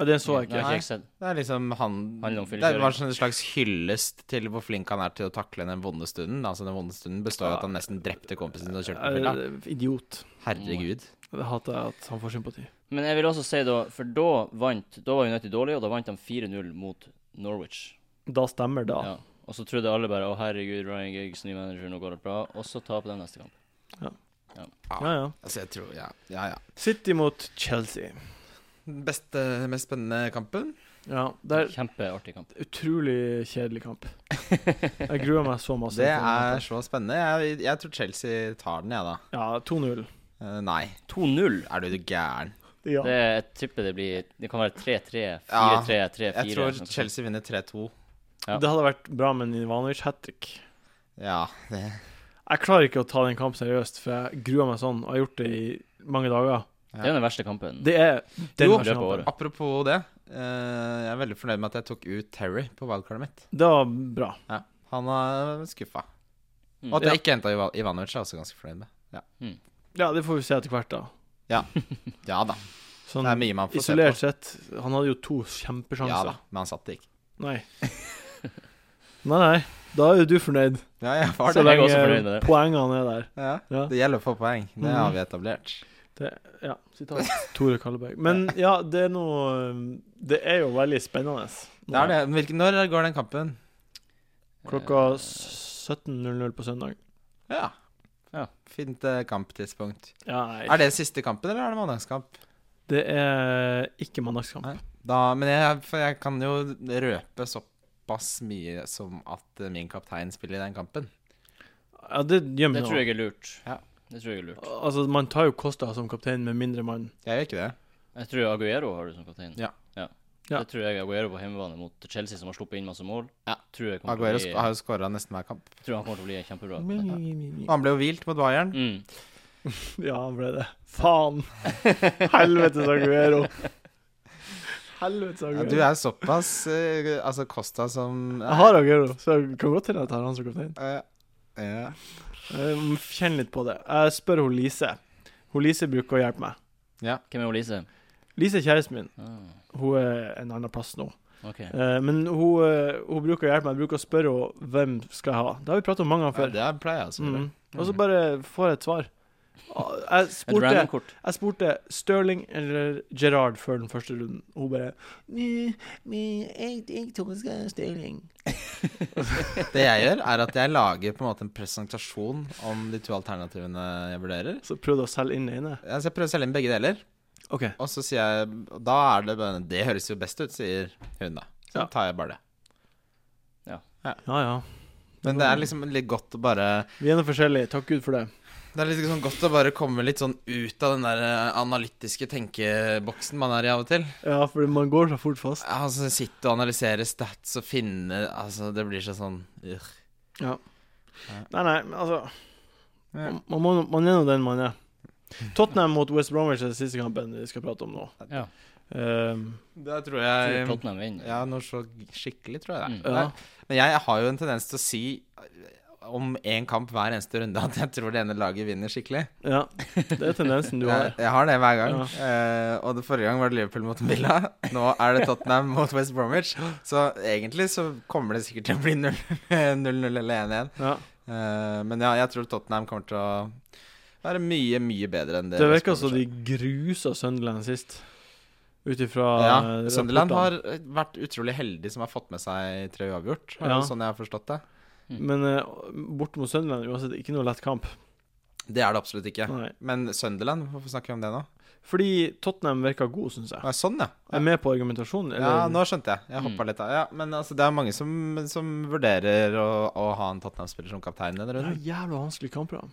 Speaker 1: Ja, den så jeg
Speaker 3: Nei,
Speaker 1: ikke.
Speaker 3: har ikke sett.
Speaker 4: Det er liksom han
Speaker 3: Handler om
Speaker 4: Det
Speaker 3: fyllekjøring.
Speaker 4: var sånn en slags hyllest til hvor flink han er til å takle den vonde stunden. Altså Den vonde stunden består av at han nesten drepte kompisen sin og kjørte på fylla.
Speaker 1: Eh, Idiot.
Speaker 4: Herregud.
Speaker 1: Det hater jeg at han får sympati.
Speaker 3: Men jeg vil også si, da, for da vant Da var United dårlig, og da vant de 4-0 mot Norwich.
Speaker 1: Da stemmer det.
Speaker 3: Ja. Og så trodde alle bare 'Å, herregud, Ryan Giggs, ny manager, nå går det bra', og så taper de neste kamp.
Speaker 1: Ja, ja.
Speaker 4: Altså, jeg tror Ja, ja. ja.
Speaker 1: City mot Chelsea.
Speaker 4: Beste, mest spennende kampen?
Speaker 1: Ja, det er
Speaker 3: Kjempeartig kamp.
Speaker 1: utrolig kjedelig kamp. Jeg gruer meg så masse.
Speaker 4: Det
Speaker 1: til den
Speaker 4: er så spennende. Jeg, jeg tror Chelsea tar den, jeg, ja, da.
Speaker 1: kampen. Ja, 2-0.
Speaker 4: Eh, nei,
Speaker 3: 2-0.
Speaker 4: er du gæren?
Speaker 1: Ja.
Speaker 3: Det, jeg tipper det blir Det kan være 3-3, 4-3, 3-4.
Speaker 4: Jeg tror
Speaker 3: sånn.
Speaker 4: Chelsea vinner 3-2.
Speaker 3: Ja.
Speaker 1: Det hadde vært bra med en Ivanovic hat trick.
Speaker 4: Ja, det
Speaker 1: Jeg klarer ikke å ta den kampen seriøst, for jeg gruer meg sånn, og jeg har gjort det i mange dager.
Speaker 3: Det er jo den verste kampen.
Speaker 1: Det er den
Speaker 3: Jo,
Speaker 1: verste
Speaker 3: løpet av
Speaker 1: kampen.
Speaker 3: året.
Speaker 4: Apropos det. eh, jeg er veldig fornøyd med at jeg tok ut Terry på valgkartet mitt.
Speaker 1: Det var bra.
Speaker 4: Ja. Han er skuffa.
Speaker 3: Mm.
Speaker 4: Og at jeg ikke henta Ivanovic, er jeg også ganske fornøyd med. Ja,
Speaker 1: Ja, det får vi se etter hvert, da.
Speaker 4: ja da.
Speaker 1: Sånn
Speaker 4: Det er mye man får se
Speaker 1: isolert
Speaker 4: på.
Speaker 1: sett. Han hadde jo to
Speaker 4: Ja
Speaker 1: kjempesjanser.
Speaker 4: da, Men han satt det ikke.
Speaker 1: Nei. nei, nei. Da er jo du fornøyd.
Speaker 4: Ja, jeg var
Speaker 1: Så
Speaker 4: det.
Speaker 3: Jeg er
Speaker 1: lenge
Speaker 3: også fornøyd med det.
Speaker 1: poengene er der.
Speaker 4: Ja.
Speaker 1: Ja. Mm.
Speaker 4: Det gjelder å få poeng. Det har vi etablert.
Speaker 1: Ja, sitat Tore Kalleberg. Men ja, det er noe Det er jo veldig spennende.
Speaker 4: Det er det. Men hvilken, når går den kampen?
Speaker 1: Klokka
Speaker 3: Eh,
Speaker 1: 17.00 på søndag.
Speaker 4: Ja.
Speaker 3: Ja.
Speaker 4: Fint eh, kamptidspunkt.
Speaker 1: Ja, nei.
Speaker 4: Er det siste kampen, eller er det mandagskamp?
Speaker 1: Det er ikke mandagskamp.
Speaker 4: Nei. Da, men jeg, for jeg kan jo røpe såpass mye som at eh, min kaptein spiller i den kampen.
Speaker 1: Ja, det gjør
Speaker 3: Det
Speaker 1: meg
Speaker 3: tror
Speaker 1: noe.
Speaker 3: jeg er lurt.
Speaker 4: Ja.
Speaker 3: Det tror jeg er lurt.
Speaker 1: Altså, man tar jo Kosta som kaptein med mindre mann.
Speaker 4: Jeg gjør ikke det.
Speaker 3: Jeg tror Aguero har du som kaptein.
Speaker 4: Ja.
Speaker 1: Ja.
Speaker 3: Det tror jeg Aguero på hjemmebane mot Chelsea, som har sluppet inn masse mål.
Speaker 4: Ja.
Speaker 3: Tror jeg kommer
Speaker 4: Aguero
Speaker 3: til å
Speaker 4: sk-
Speaker 3: bli,
Speaker 4: har jo skåra nesten hver kamp.
Speaker 3: tror han kommer til å bli kjempebra.
Speaker 4: Og han ble jo hvilt mot Bayern.
Speaker 3: Mm.
Speaker 1: Ja, han ble det. Faen! Helvetes Aguero. Helvetes
Speaker 4: Ja,
Speaker 1: Aguero.
Speaker 4: du er såpass eh, Altså Costa som
Speaker 1: Jeg har Aguero, så jeg kan godt hende at jeg tar han som kaptein.
Speaker 4: Eh, ja.
Speaker 1: Jeg må Kjenne Eh, litt på det. Jeg spør hun Lise. Hun Lise bruker å hjelpe meg.
Speaker 3: Hvem er Olise?
Speaker 1: Lise er kjæresten min.
Speaker 3: Ah,
Speaker 1: Hun er en annen plass nå.
Speaker 3: OK.
Speaker 1: Eh, Men hun, eh, hun bruker å hjelpe meg. Jeg bruker å spørre henne hvem skal jeg ha. Det har vi pratet om mange ganger
Speaker 4: ja,
Speaker 1: før.
Speaker 4: det pleier jeg altså å gjøre.
Speaker 1: Mm. Og så bare får jeg et svar. Ah, Jeg
Speaker 3: Et
Speaker 1: spurte
Speaker 3: random kort.
Speaker 1: Jeg spurte Sterling eller Gerrard før den første runden. Hun bare «Nei, nei, jeg, jeg tror jeg skal ha Sterling.
Speaker 4: Det jeg gjør, er at jeg lager på en måte en presentasjon om de to alternativene jeg vurderer.
Speaker 1: Så prøvde jeg å selge inn det ene.
Speaker 4: Ja, Så jeg prøver å selge inn begge deler,
Speaker 1: OK.
Speaker 4: og så sier jeg og Da er det bare Det høres jo best ut, sier hun da.
Speaker 1: Ja.
Speaker 4: Så tar jeg bare det.
Speaker 1: Ja ja.
Speaker 4: Men det er liksom litt godt å bare
Speaker 1: Vi er nå forskjellige. Takk Gud for det.
Speaker 4: Det er litt sånn godt å bare komme litt sånn ut av den der eh, analytiske tenkeboksen man er i av og til.
Speaker 1: Ja, for man går så fort fast.
Speaker 4: Ja, Altså, sitte og analysere stats og finne Altså, det blir så sånn Ugh.
Speaker 1: Nei, nei, men altså
Speaker 4: Ja.
Speaker 1: man, man, må- man er nå den man er. Tottenham mot West Bromwich er den siste kampen vi skal prate om nå.
Speaker 3: Ja.
Speaker 1: Ehm,
Speaker 4: Det tror
Speaker 3: Tror
Speaker 4: jeg
Speaker 3: Tottenham vinner.
Speaker 4: Eh, Ja, noe så skikkelig, tror jeg
Speaker 1: ja.
Speaker 4: det er. Nei, Men jeg har jo en tendens til å si eh, om én kamp hver eneste runde at jeg tror det ene laget vinner skikkelig.
Speaker 1: ja. Det er tendensen du
Speaker 4: Jeg,
Speaker 1: har.
Speaker 4: jeg har det hver gang.
Speaker 1: Ja.
Speaker 4: Eh, og det forrige gang var det Liverpool mot Villa. Nå er det Tottenham mot West Bromwich. Så egentlig så kommer det sikkert til å bli 0-0 eller 1-1.
Speaker 1: Ja.
Speaker 4: Eh, men ja, jeg tror Tottenham kommer til å være mye, mye bedre enn det.
Speaker 1: Det
Speaker 4: West
Speaker 1: virker som
Speaker 4: Bromwich er.
Speaker 1: de grusa Sunderland sist, ut ifra
Speaker 4: Ja,
Speaker 1: eh,
Speaker 4: Sunderland
Speaker 1: rapportene.
Speaker 4: har vært utrolig heldig som har fått med seg tre uavgjort, er det
Speaker 1: Ja.
Speaker 4: sånn jeg har forstått det.
Speaker 1: Men eh, bort mot Sunderland uansett, ikke noe lett kamp.
Speaker 4: Det er det absolutt ikke.
Speaker 1: Nei.
Speaker 4: Men Sunderland, hvorfor snakker vi om det nå?
Speaker 1: Fordi Tottenham virker god, syns jeg.
Speaker 4: Ja, sånn, ja.
Speaker 1: Jeg er med på argumentasjonen.
Speaker 4: Ja,
Speaker 1: Eller,
Speaker 4: nå skjønte jeg. Jeg hoppa litt av. Ja, men altså, det er mange som, som vurderer å, å ha en Tottenham-spiller som kaptein denne
Speaker 1: det er
Speaker 4: runden.
Speaker 1: et jævla vanskelig kampprogram.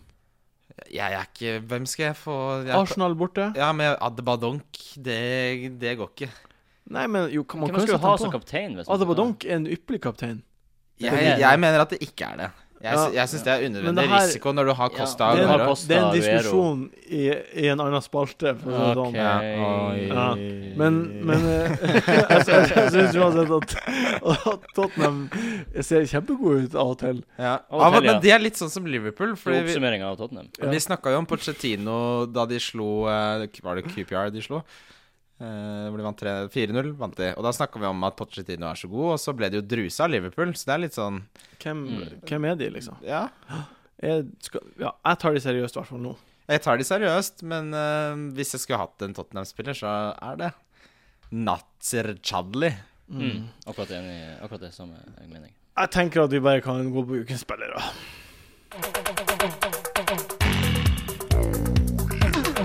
Speaker 4: Jeg er ikke Hvem skal jeg få jeg,
Speaker 1: Arsenal borte.
Speaker 4: Ja, med Adbadonk det, det går ikke.
Speaker 1: Nei, men jo, kan- man
Speaker 3: Hvem
Speaker 1: kan
Speaker 3: skal
Speaker 1: jo
Speaker 3: du ha
Speaker 1: sette ham
Speaker 3: som
Speaker 1: på.
Speaker 3: kaptein? hvis man skal ta-
Speaker 1: Adabadonk er en ypperlig kaptein.
Speaker 4: Jeg, jeg mener at det ikke er det. Jeg, sy-
Speaker 1: Ja.
Speaker 4: jeg syns det er
Speaker 1: Men det
Speaker 4: unødvendig
Speaker 1: her-
Speaker 4: risiko når du har
Speaker 3: Ja,
Speaker 1: Det
Speaker 4: Costa og
Speaker 1: er,
Speaker 3: har
Speaker 1: en,
Speaker 4: Aguero.
Speaker 3: Costa,
Speaker 1: det er en
Speaker 3: Aguero.
Speaker 1: diskusjon i, i en annen spalte. For å si det
Speaker 3: Ok.
Speaker 1: sånn.
Speaker 4: Ja, oi.
Speaker 1: Ja. Men, men eh, jeg, sy- jeg syns uansett at, at Tottenham ser kjempegode ut av og til.
Speaker 4: Ja.
Speaker 3: Av og
Speaker 4: Ja,
Speaker 3: til,
Speaker 4: men
Speaker 3: ja.
Speaker 4: det er litt sånn som Liverpool. Fordi vi,
Speaker 3: Oppsummeringa av Tottenham.
Speaker 1: Ja.
Speaker 4: vi snakka jo om Pochettino da de slo eh, Var det QPR de slo? Eh, hvor de vant tre- 4-0. vant de Og da snakka vi om at Pochettino er så god, og så ble det jo drusa av Liverpool. Så det er litt sånn
Speaker 1: Hvem,
Speaker 3: Mm.
Speaker 1: hvem er de, liksom?
Speaker 4: Ja.
Speaker 1: Jeg, skal, ja, jeg tar de seriøst, i hvert fall nå.
Speaker 4: Jeg tar de seriøst, men eh, hvis jeg skulle hatt en Tottenham-spiller, så er det Natzer Chadli.
Speaker 3: Mm. Akkurat, enig, akkurat det samme eh, jeg mener.
Speaker 1: Jeg tenker at vi bare kan gå på ukens spillere.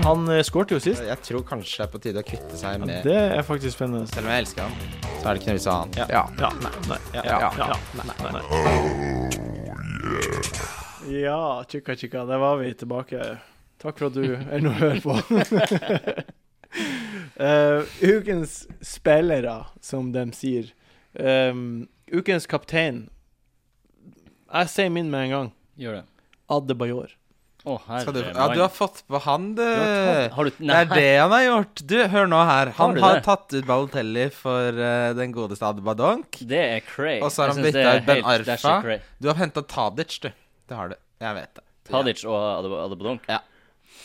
Speaker 1: Han eh, skårte jo sist.
Speaker 4: Jeg tror kanskje det er på tide å kvitte seg med
Speaker 1: Det er faktisk spennende.
Speaker 4: Selv om jeg elsker han, så er det ikke noe vits i å ha han.
Speaker 1: Ja. Ja. Nei. Nei. Ja. Ja. Ja. Nei. Nei.
Speaker 4: Oh,
Speaker 1: ja tjukka, tjukka. Der var vi tilbake. Takk for at du ennå hører på. Eh, ukens spillere, som de sier. Eh, ukens kaptein. Jeg sier min med en gang.
Speaker 3: Gjør det.
Speaker 1: Adebayor.
Speaker 3: Å,
Speaker 4: Skal
Speaker 3: herre
Speaker 4: du, ja, du har fått på han, du.
Speaker 3: mann. Har du
Speaker 4: Det
Speaker 3: Nei,
Speaker 4: er det han har gjort. Du, hør nå her.
Speaker 3: Har
Speaker 4: Han
Speaker 3: du
Speaker 4: har
Speaker 3: det?
Speaker 4: tatt ut Balotelli for eh, den godeste Adbadonk.
Speaker 3: det er cray.
Speaker 4: Og så har
Speaker 3: Jeg
Speaker 4: han
Speaker 3: synes
Speaker 4: byttet
Speaker 3: det er
Speaker 4: ut Ben
Speaker 3: helt- det er
Speaker 4: Arfa.
Speaker 3: så cray.
Speaker 4: Du har henta Tadic, du. Det har du. Jeg vet det.
Speaker 3: Tadic og Adeb- Adebodonk.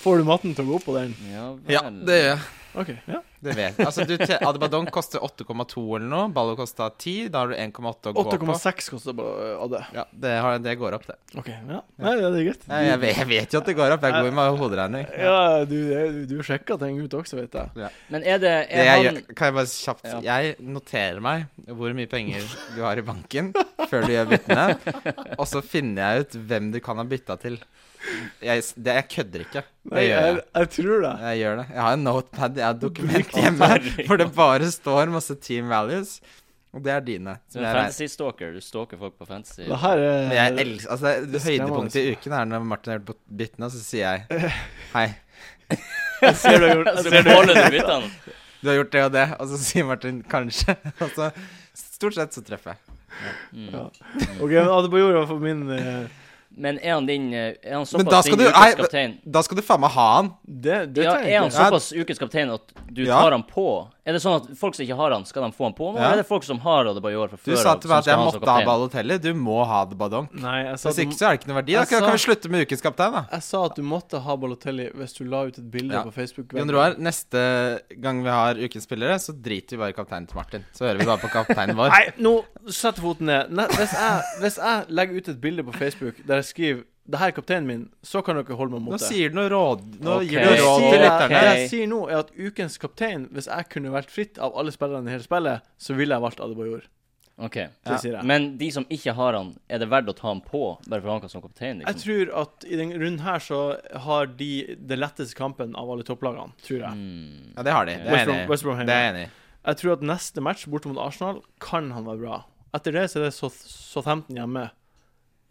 Speaker 1: Får du matten til å gå opp på den?
Speaker 4: Ja, det gjør jeg.
Speaker 1: OK. Ja.
Speaker 4: Det vet jeg. Altså, du, tje- Adbadonk koster 8,2 eller noe. Ballo kosta 10. Da har du 1,8 å gå på.
Speaker 1: 8,6 koster på eh, Adde.
Speaker 4: Ja, det, har, det går opp, det.
Speaker 1: OK. Ja. Nei, det er greit.
Speaker 4: Nei, Jeg vet, jeg vet jo at det går opp. Jeg går med hoderegning.
Speaker 1: Ja, du, du, du sjekka ting ut også, vet jeg.
Speaker 3: Men er det
Speaker 4: Det
Speaker 3: er
Speaker 4: jeg
Speaker 3: han,
Speaker 4: gjør, kan jeg bare kjapt
Speaker 3: Ja.
Speaker 4: Jeg noterer meg hvor mye penger du har i banken før du gjør byttene, og så finner jeg ut hvem du kan ha bytta til. Jeg, s- det, jeg kødder ikke. Det
Speaker 1: Nei,
Speaker 4: gjør
Speaker 1: jeg,
Speaker 4: jeg.
Speaker 1: jeg tror det.
Speaker 4: Jeg gjør det. Jeg har en notepad, jeg har et dokument hjemme hvor det bare står masse Team Values, og det er dine.
Speaker 3: du er
Speaker 4: Som jeg,
Speaker 3: en
Speaker 4: regner-
Speaker 3: fantasy stalker? Du stalker folk på fantasy?
Speaker 1: Det her er
Speaker 4: men jeg elsker, altså, det,
Speaker 1: Det skremmer
Speaker 4: høydepunktet i uken er når Martin har gjort på- byttene, og så sier jeg Hei,
Speaker 1: Jeg ser du har gjort jeg
Speaker 3: Så
Speaker 1: ser du-
Speaker 3: beholder du byttene?
Speaker 4: du har gjort det og det, og så sier Martin kanskje, og så stort sett så treffer jeg.
Speaker 1: Ja. OK, men Adebayor var for min eh,
Speaker 3: Men er han din eh, Er han
Speaker 4: Men da
Speaker 3: såpass
Speaker 4: skal
Speaker 3: din
Speaker 4: du- nei,
Speaker 3: ukens
Speaker 4: men-
Speaker 3: kaptein?
Speaker 4: Da skal du faen meg ha han.
Speaker 1: Det, det
Speaker 3: Ja,
Speaker 1: trenger
Speaker 3: er han
Speaker 1: ikke.
Speaker 4: Ja.
Speaker 3: såpass ukens kaptein at du
Speaker 4: Ja.
Speaker 3: tar han på? Er det sånn at folk som ikke har han, skal de få han på nå?
Speaker 4: Ja.
Speaker 3: Eller er det folk som har Adebayor fra
Speaker 4: Du
Speaker 3: før
Speaker 4: sa
Speaker 3: av,
Speaker 4: til meg
Speaker 3: som
Speaker 4: at
Speaker 3: skal ha han
Speaker 4: jeg
Speaker 3: som
Speaker 4: måtte ha
Speaker 3: kaptein?
Speaker 4: Balotelli. Du må ha det Badong.
Speaker 1: Nei, jeg sa, at
Speaker 4: Hvis ikke
Speaker 1: du,
Speaker 4: så Altså- er det ikke noe verdi. Da
Speaker 1: Jeg
Speaker 4: kan, kan vi
Speaker 1: sa-
Speaker 4: slutte med ukens kaptein, da.
Speaker 1: jeg sa at du måtte ha Balotelli hvis du la ut et bilde
Speaker 4: Ja.
Speaker 1: på Facebook.
Speaker 4: Jon Roar, neste gang vi har ukens spillere, så driter vi bare i kapteinen til Martin. Så hører vi bare på kapteinen vår.
Speaker 1: Nei, nå setter foten ned. Ne, hvis, jeg, hvis jeg legger ut et bilde på Facebook der jeg skriver 'Det her er kapteinen min', så kan dere holde meg mot
Speaker 4: Nå
Speaker 1: det.
Speaker 4: sier du noe råd. Nå
Speaker 3: Ok.
Speaker 4: gir du
Speaker 1: jeg
Speaker 4: råd
Speaker 1: sier,
Speaker 4: til
Speaker 1: jeg,
Speaker 4: lytterne.
Speaker 1: det
Speaker 3: lytterne.
Speaker 1: jeg sier nå, er at ukens kaptein, hvis jeg kunne vært fritt av alle spillerne i hele spillet, så ville jeg valgt Adebayor.
Speaker 3: Ok.
Speaker 1: Det
Speaker 4: Ja.
Speaker 1: sier jeg.
Speaker 3: Men de som ikke har han, er det verdt å ta han på bare for han kan som kaptein?
Speaker 1: Jeg
Speaker 3: Liksom?
Speaker 1: tror at i den runden her så har de det letteste kampen av alle topplagene, tror jeg.
Speaker 3: Mm.
Speaker 4: Ja, det har de. Det er
Speaker 1: West
Speaker 4: jeg
Speaker 1: Brom-
Speaker 4: enig i.
Speaker 1: West Brom
Speaker 4: Det
Speaker 1: hjemme.
Speaker 4: er jeg enig i.
Speaker 1: Jeg tror at neste match borte mot Arsenal kan han være bra. Etter det så er det South- Southampton hjemme.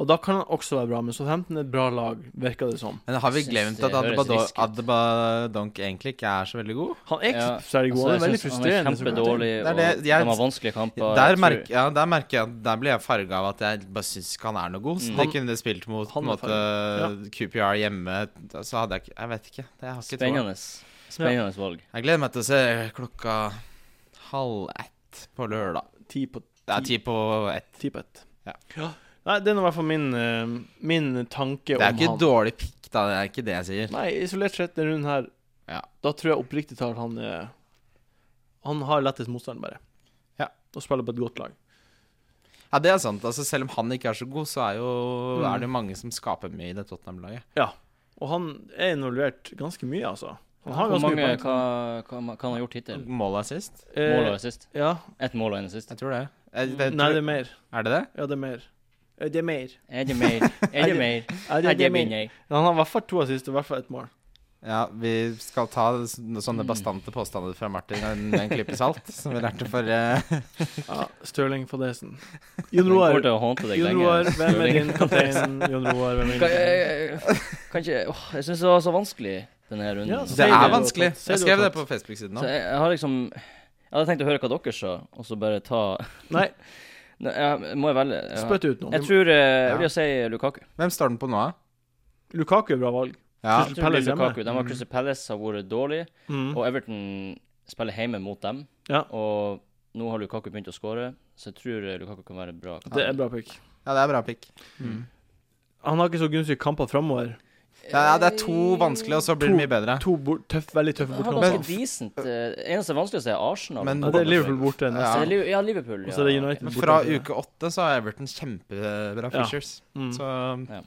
Speaker 1: Og da kan han også være bra, men Southampton er et bra lag, virker det som.
Speaker 4: Men har vi
Speaker 3: Jeg synes
Speaker 4: glemt
Speaker 3: det
Speaker 4: at
Speaker 3: høres risky ut.
Speaker 4: Adbadonk egentlig ikke er så veldig god?
Speaker 1: Han er ikke
Speaker 3: Ja,
Speaker 1: særlig god,
Speaker 3: Altså,
Speaker 1: han er
Speaker 3: jeg
Speaker 1: veldig
Speaker 3: synes han
Speaker 1: frustrerende.
Speaker 3: er
Speaker 1: som kaptein.
Speaker 3: kjempedårlig,
Speaker 4: Det er
Speaker 3: og
Speaker 4: det- jeg-
Speaker 3: de har vanskelige kamper.
Speaker 4: Der
Speaker 3: Jeg tror-
Speaker 4: merker, ja, der merker jeg Der blir jeg farga av at jeg bare syns ikke han er noe god. Så
Speaker 1: Mm.
Speaker 4: det kunne de spilt mot på
Speaker 1: Han
Speaker 4: en
Speaker 1: er
Speaker 4: måte QPR hjemme. Så hadde jeg ikke Jeg vet ikke. Det jeg har ikke troa.
Speaker 3: Spennende. Spennende valg.
Speaker 4: Jeg gleder meg til å se klokka halv ett på lørdag.
Speaker 1: Ti på
Speaker 4: Det er ti på ett.
Speaker 1: ti på ett.
Speaker 4: Ja.
Speaker 1: Nei, det er nå i hvert fall min, eh, min tanke
Speaker 4: Det
Speaker 1: om
Speaker 4: er jo
Speaker 1: han.
Speaker 4: ikke dårlig pikk, da. Det er ikke det jeg sier.
Speaker 1: Nei, isolert sett denne runden her
Speaker 4: Ja.
Speaker 1: Da tror jeg oppriktig talt han eh, Han har lettest motstand, bare.
Speaker 4: Ja.
Speaker 1: Og spiller på et godt lag.
Speaker 4: Ja, det er sant. Altså, selv om han ikke er så god, så er, jo,
Speaker 1: Mm.
Speaker 4: er det mange som skaper mye i det Tottenham-laget.
Speaker 1: Og han er involvert ganske mye, altså. Han har
Speaker 3: Hvor
Speaker 1: ganske
Speaker 3: mange
Speaker 1: mye poeng.
Speaker 3: hva, hva, hva han har gjort hittil?
Speaker 4: Målet er sist.
Speaker 1: Eh,
Speaker 3: Mål og assist?
Speaker 1: ja.
Speaker 3: Ett mål og en assist?
Speaker 4: Jeg tror det. Jeg, det
Speaker 1: Nei,
Speaker 4: tror,
Speaker 1: det er mer.
Speaker 4: er det det?
Speaker 1: Ja, det er mer. Eh, Det er mer.
Speaker 3: Er det mer? Er det mer?
Speaker 1: Ja, det,
Speaker 3: Er det
Speaker 1: er mer.
Speaker 3: mindre?
Speaker 1: Han har i hvert fall to assist og i hvert fall ett mål.
Speaker 4: Ja, vi skal ta så- sånne
Speaker 3: Mm.
Speaker 4: bastante påstander fra Martin med en klype salt, som vi lærte for eh,
Speaker 1: Ja, Stirling Fadesen.
Speaker 3: Den
Speaker 1: Jon
Speaker 3: kommer
Speaker 1: Roar,
Speaker 3: til å hånte deg
Speaker 1: Jon
Speaker 3: lenge.
Speaker 1: Roar, hvem er
Speaker 3: Stirling.
Speaker 1: din kaptein? Jon Roar, hvem er din
Speaker 3: Kan,
Speaker 1: kaptein?
Speaker 3: jeg, kan ikke åh, Jeg syns det var så vanskelig, denne her runden.
Speaker 1: Ja,
Speaker 4: Det
Speaker 1: Sier
Speaker 4: er
Speaker 1: du-
Speaker 4: vanskelig.
Speaker 1: sier
Speaker 4: Jeg
Speaker 1: du
Speaker 4: skrev det
Speaker 1: tatt.
Speaker 4: på Facebook-siden
Speaker 3: Så
Speaker 4: òg.
Speaker 3: jeg, jeg har liksom Jeg hadde tenkt å høre hva dere sa, og så bare ta
Speaker 1: Nei,
Speaker 3: Nei, jeg, Må jeg velge? Ja.
Speaker 1: spytt ut
Speaker 3: Jeg
Speaker 1: noe.
Speaker 3: tror eh, Jeg vil jo si Lukaku.
Speaker 4: Hvem står den på nå, da?
Speaker 1: Lukaku er bra valg.
Speaker 4: Ja.
Speaker 1: Crystal
Speaker 3: Jeg tror det
Speaker 1: Palace
Speaker 3: blir
Speaker 1: hjemme.
Speaker 3: Lukaku. De har Crystal Palace har vært dårlig,
Speaker 1: Mm.
Speaker 3: og Everton spiller hjemme mot dem.
Speaker 1: Ja.
Speaker 3: Og nå har Lukaku begynt å skåre, så jeg tror eh, Lukaku kan være bra.
Speaker 1: Det er bra pick.
Speaker 4: ja, det er bra pikk.
Speaker 1: Han har ikke så gunstige kamper framover.
Speaker 4: Ja, det er to vanskelige, og så blir det
Speaker 1: To.
Speaker 4: mye bedre.
Speaker 1: To bort, tøff, veldig tøffe
Speaker 3: Han Eh, har
Speaker 1: bortkamper.
Speaker 3: ganske decent eh, Eneste vanskeligste er Arsenal.
Speaker 4: Men-
Speaker 1: Ja, det er Liverpool borte
Speaker 3: Så
Speaker 1: neste.
Speaker 3: det er Liv- ja, Liverpool.
Speaker 1: Og så er det
Speaker 3: ja,
Speaker 1: United.
Speaker 3: ok.
Speaker 4: Men fra
Speaker 1: borte.
Speaker 4: uke åtte så har Everton kjempebra
Speaker 1: Ja.
Speaker 4: features.
Speaker 1: Mm.
Speaker 4: Så,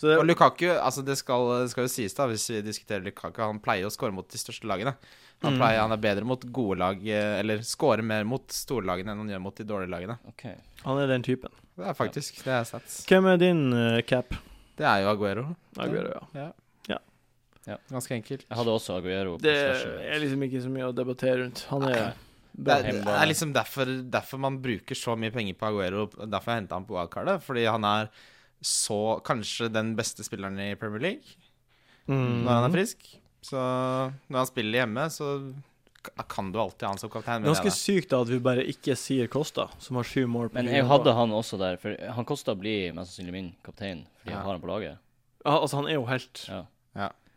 Speaker 1: Så det,
Speaker 4: og Lukaku altså det skal, det skal jo sies, da, hvis vi diskuterer Lukaku Han pleier å skåre mot de største lagene. Han,
Speaker 1: Mm.
Speaker 4: pleier, han er bedre mot gode lag, eh, eller skårer mer mot storlagene enn han gjør mot de dårlige lagene.
Speaker 3: Ok.
Speaker 1: han er den typen.
Speaker 4: Det er faktisk det er sats.
Speaker 1: Hvem er din eh, cap?
Speaker 4: Det er jo Aguero.
Speaker 1: Aguero, ja.
Speaker 4: Ganske enkelt.
Speaker 3: Jeg hadde også Aguero. på
Speaker 1: Det
Speaker 3: stasjen.
Speaker 1: er liksom ikke så mye å debattere rundt. Han er
Speaker 4: Nei. Det
Speaker 1: bra.
Speaker 4: er, det er liksom derfor, derfor man bruker så mye penger på Aguero. Derfor jeg henta han på wildcardet. Fordi han er så kanskje den beste spilleren i Premier League.
Speaker 1: Mm.
Speaker 4: når han er frisk. Så når han spiller hjemme, så kan du alltid ha han som kaptein. mener jeg
Speaker 1: Ganske
Speaker 4: da.
Speaker 1: sykt da at vi bare ikke sier Kosta, som har sju mål. på
Speaker 3: Men
Speaker 1: fire
Speaker 3: jeg
Speaker 1: kamper.
Speaker 3: hadde han også der, for han kosta å bli mest sannsynlig min kaptein, fordi jeg
Speaker 4: Ja.
Speaker 3: har han på laget.
Speaker 1: ja, Altså, han er jo helt
Speaker 3: Ja.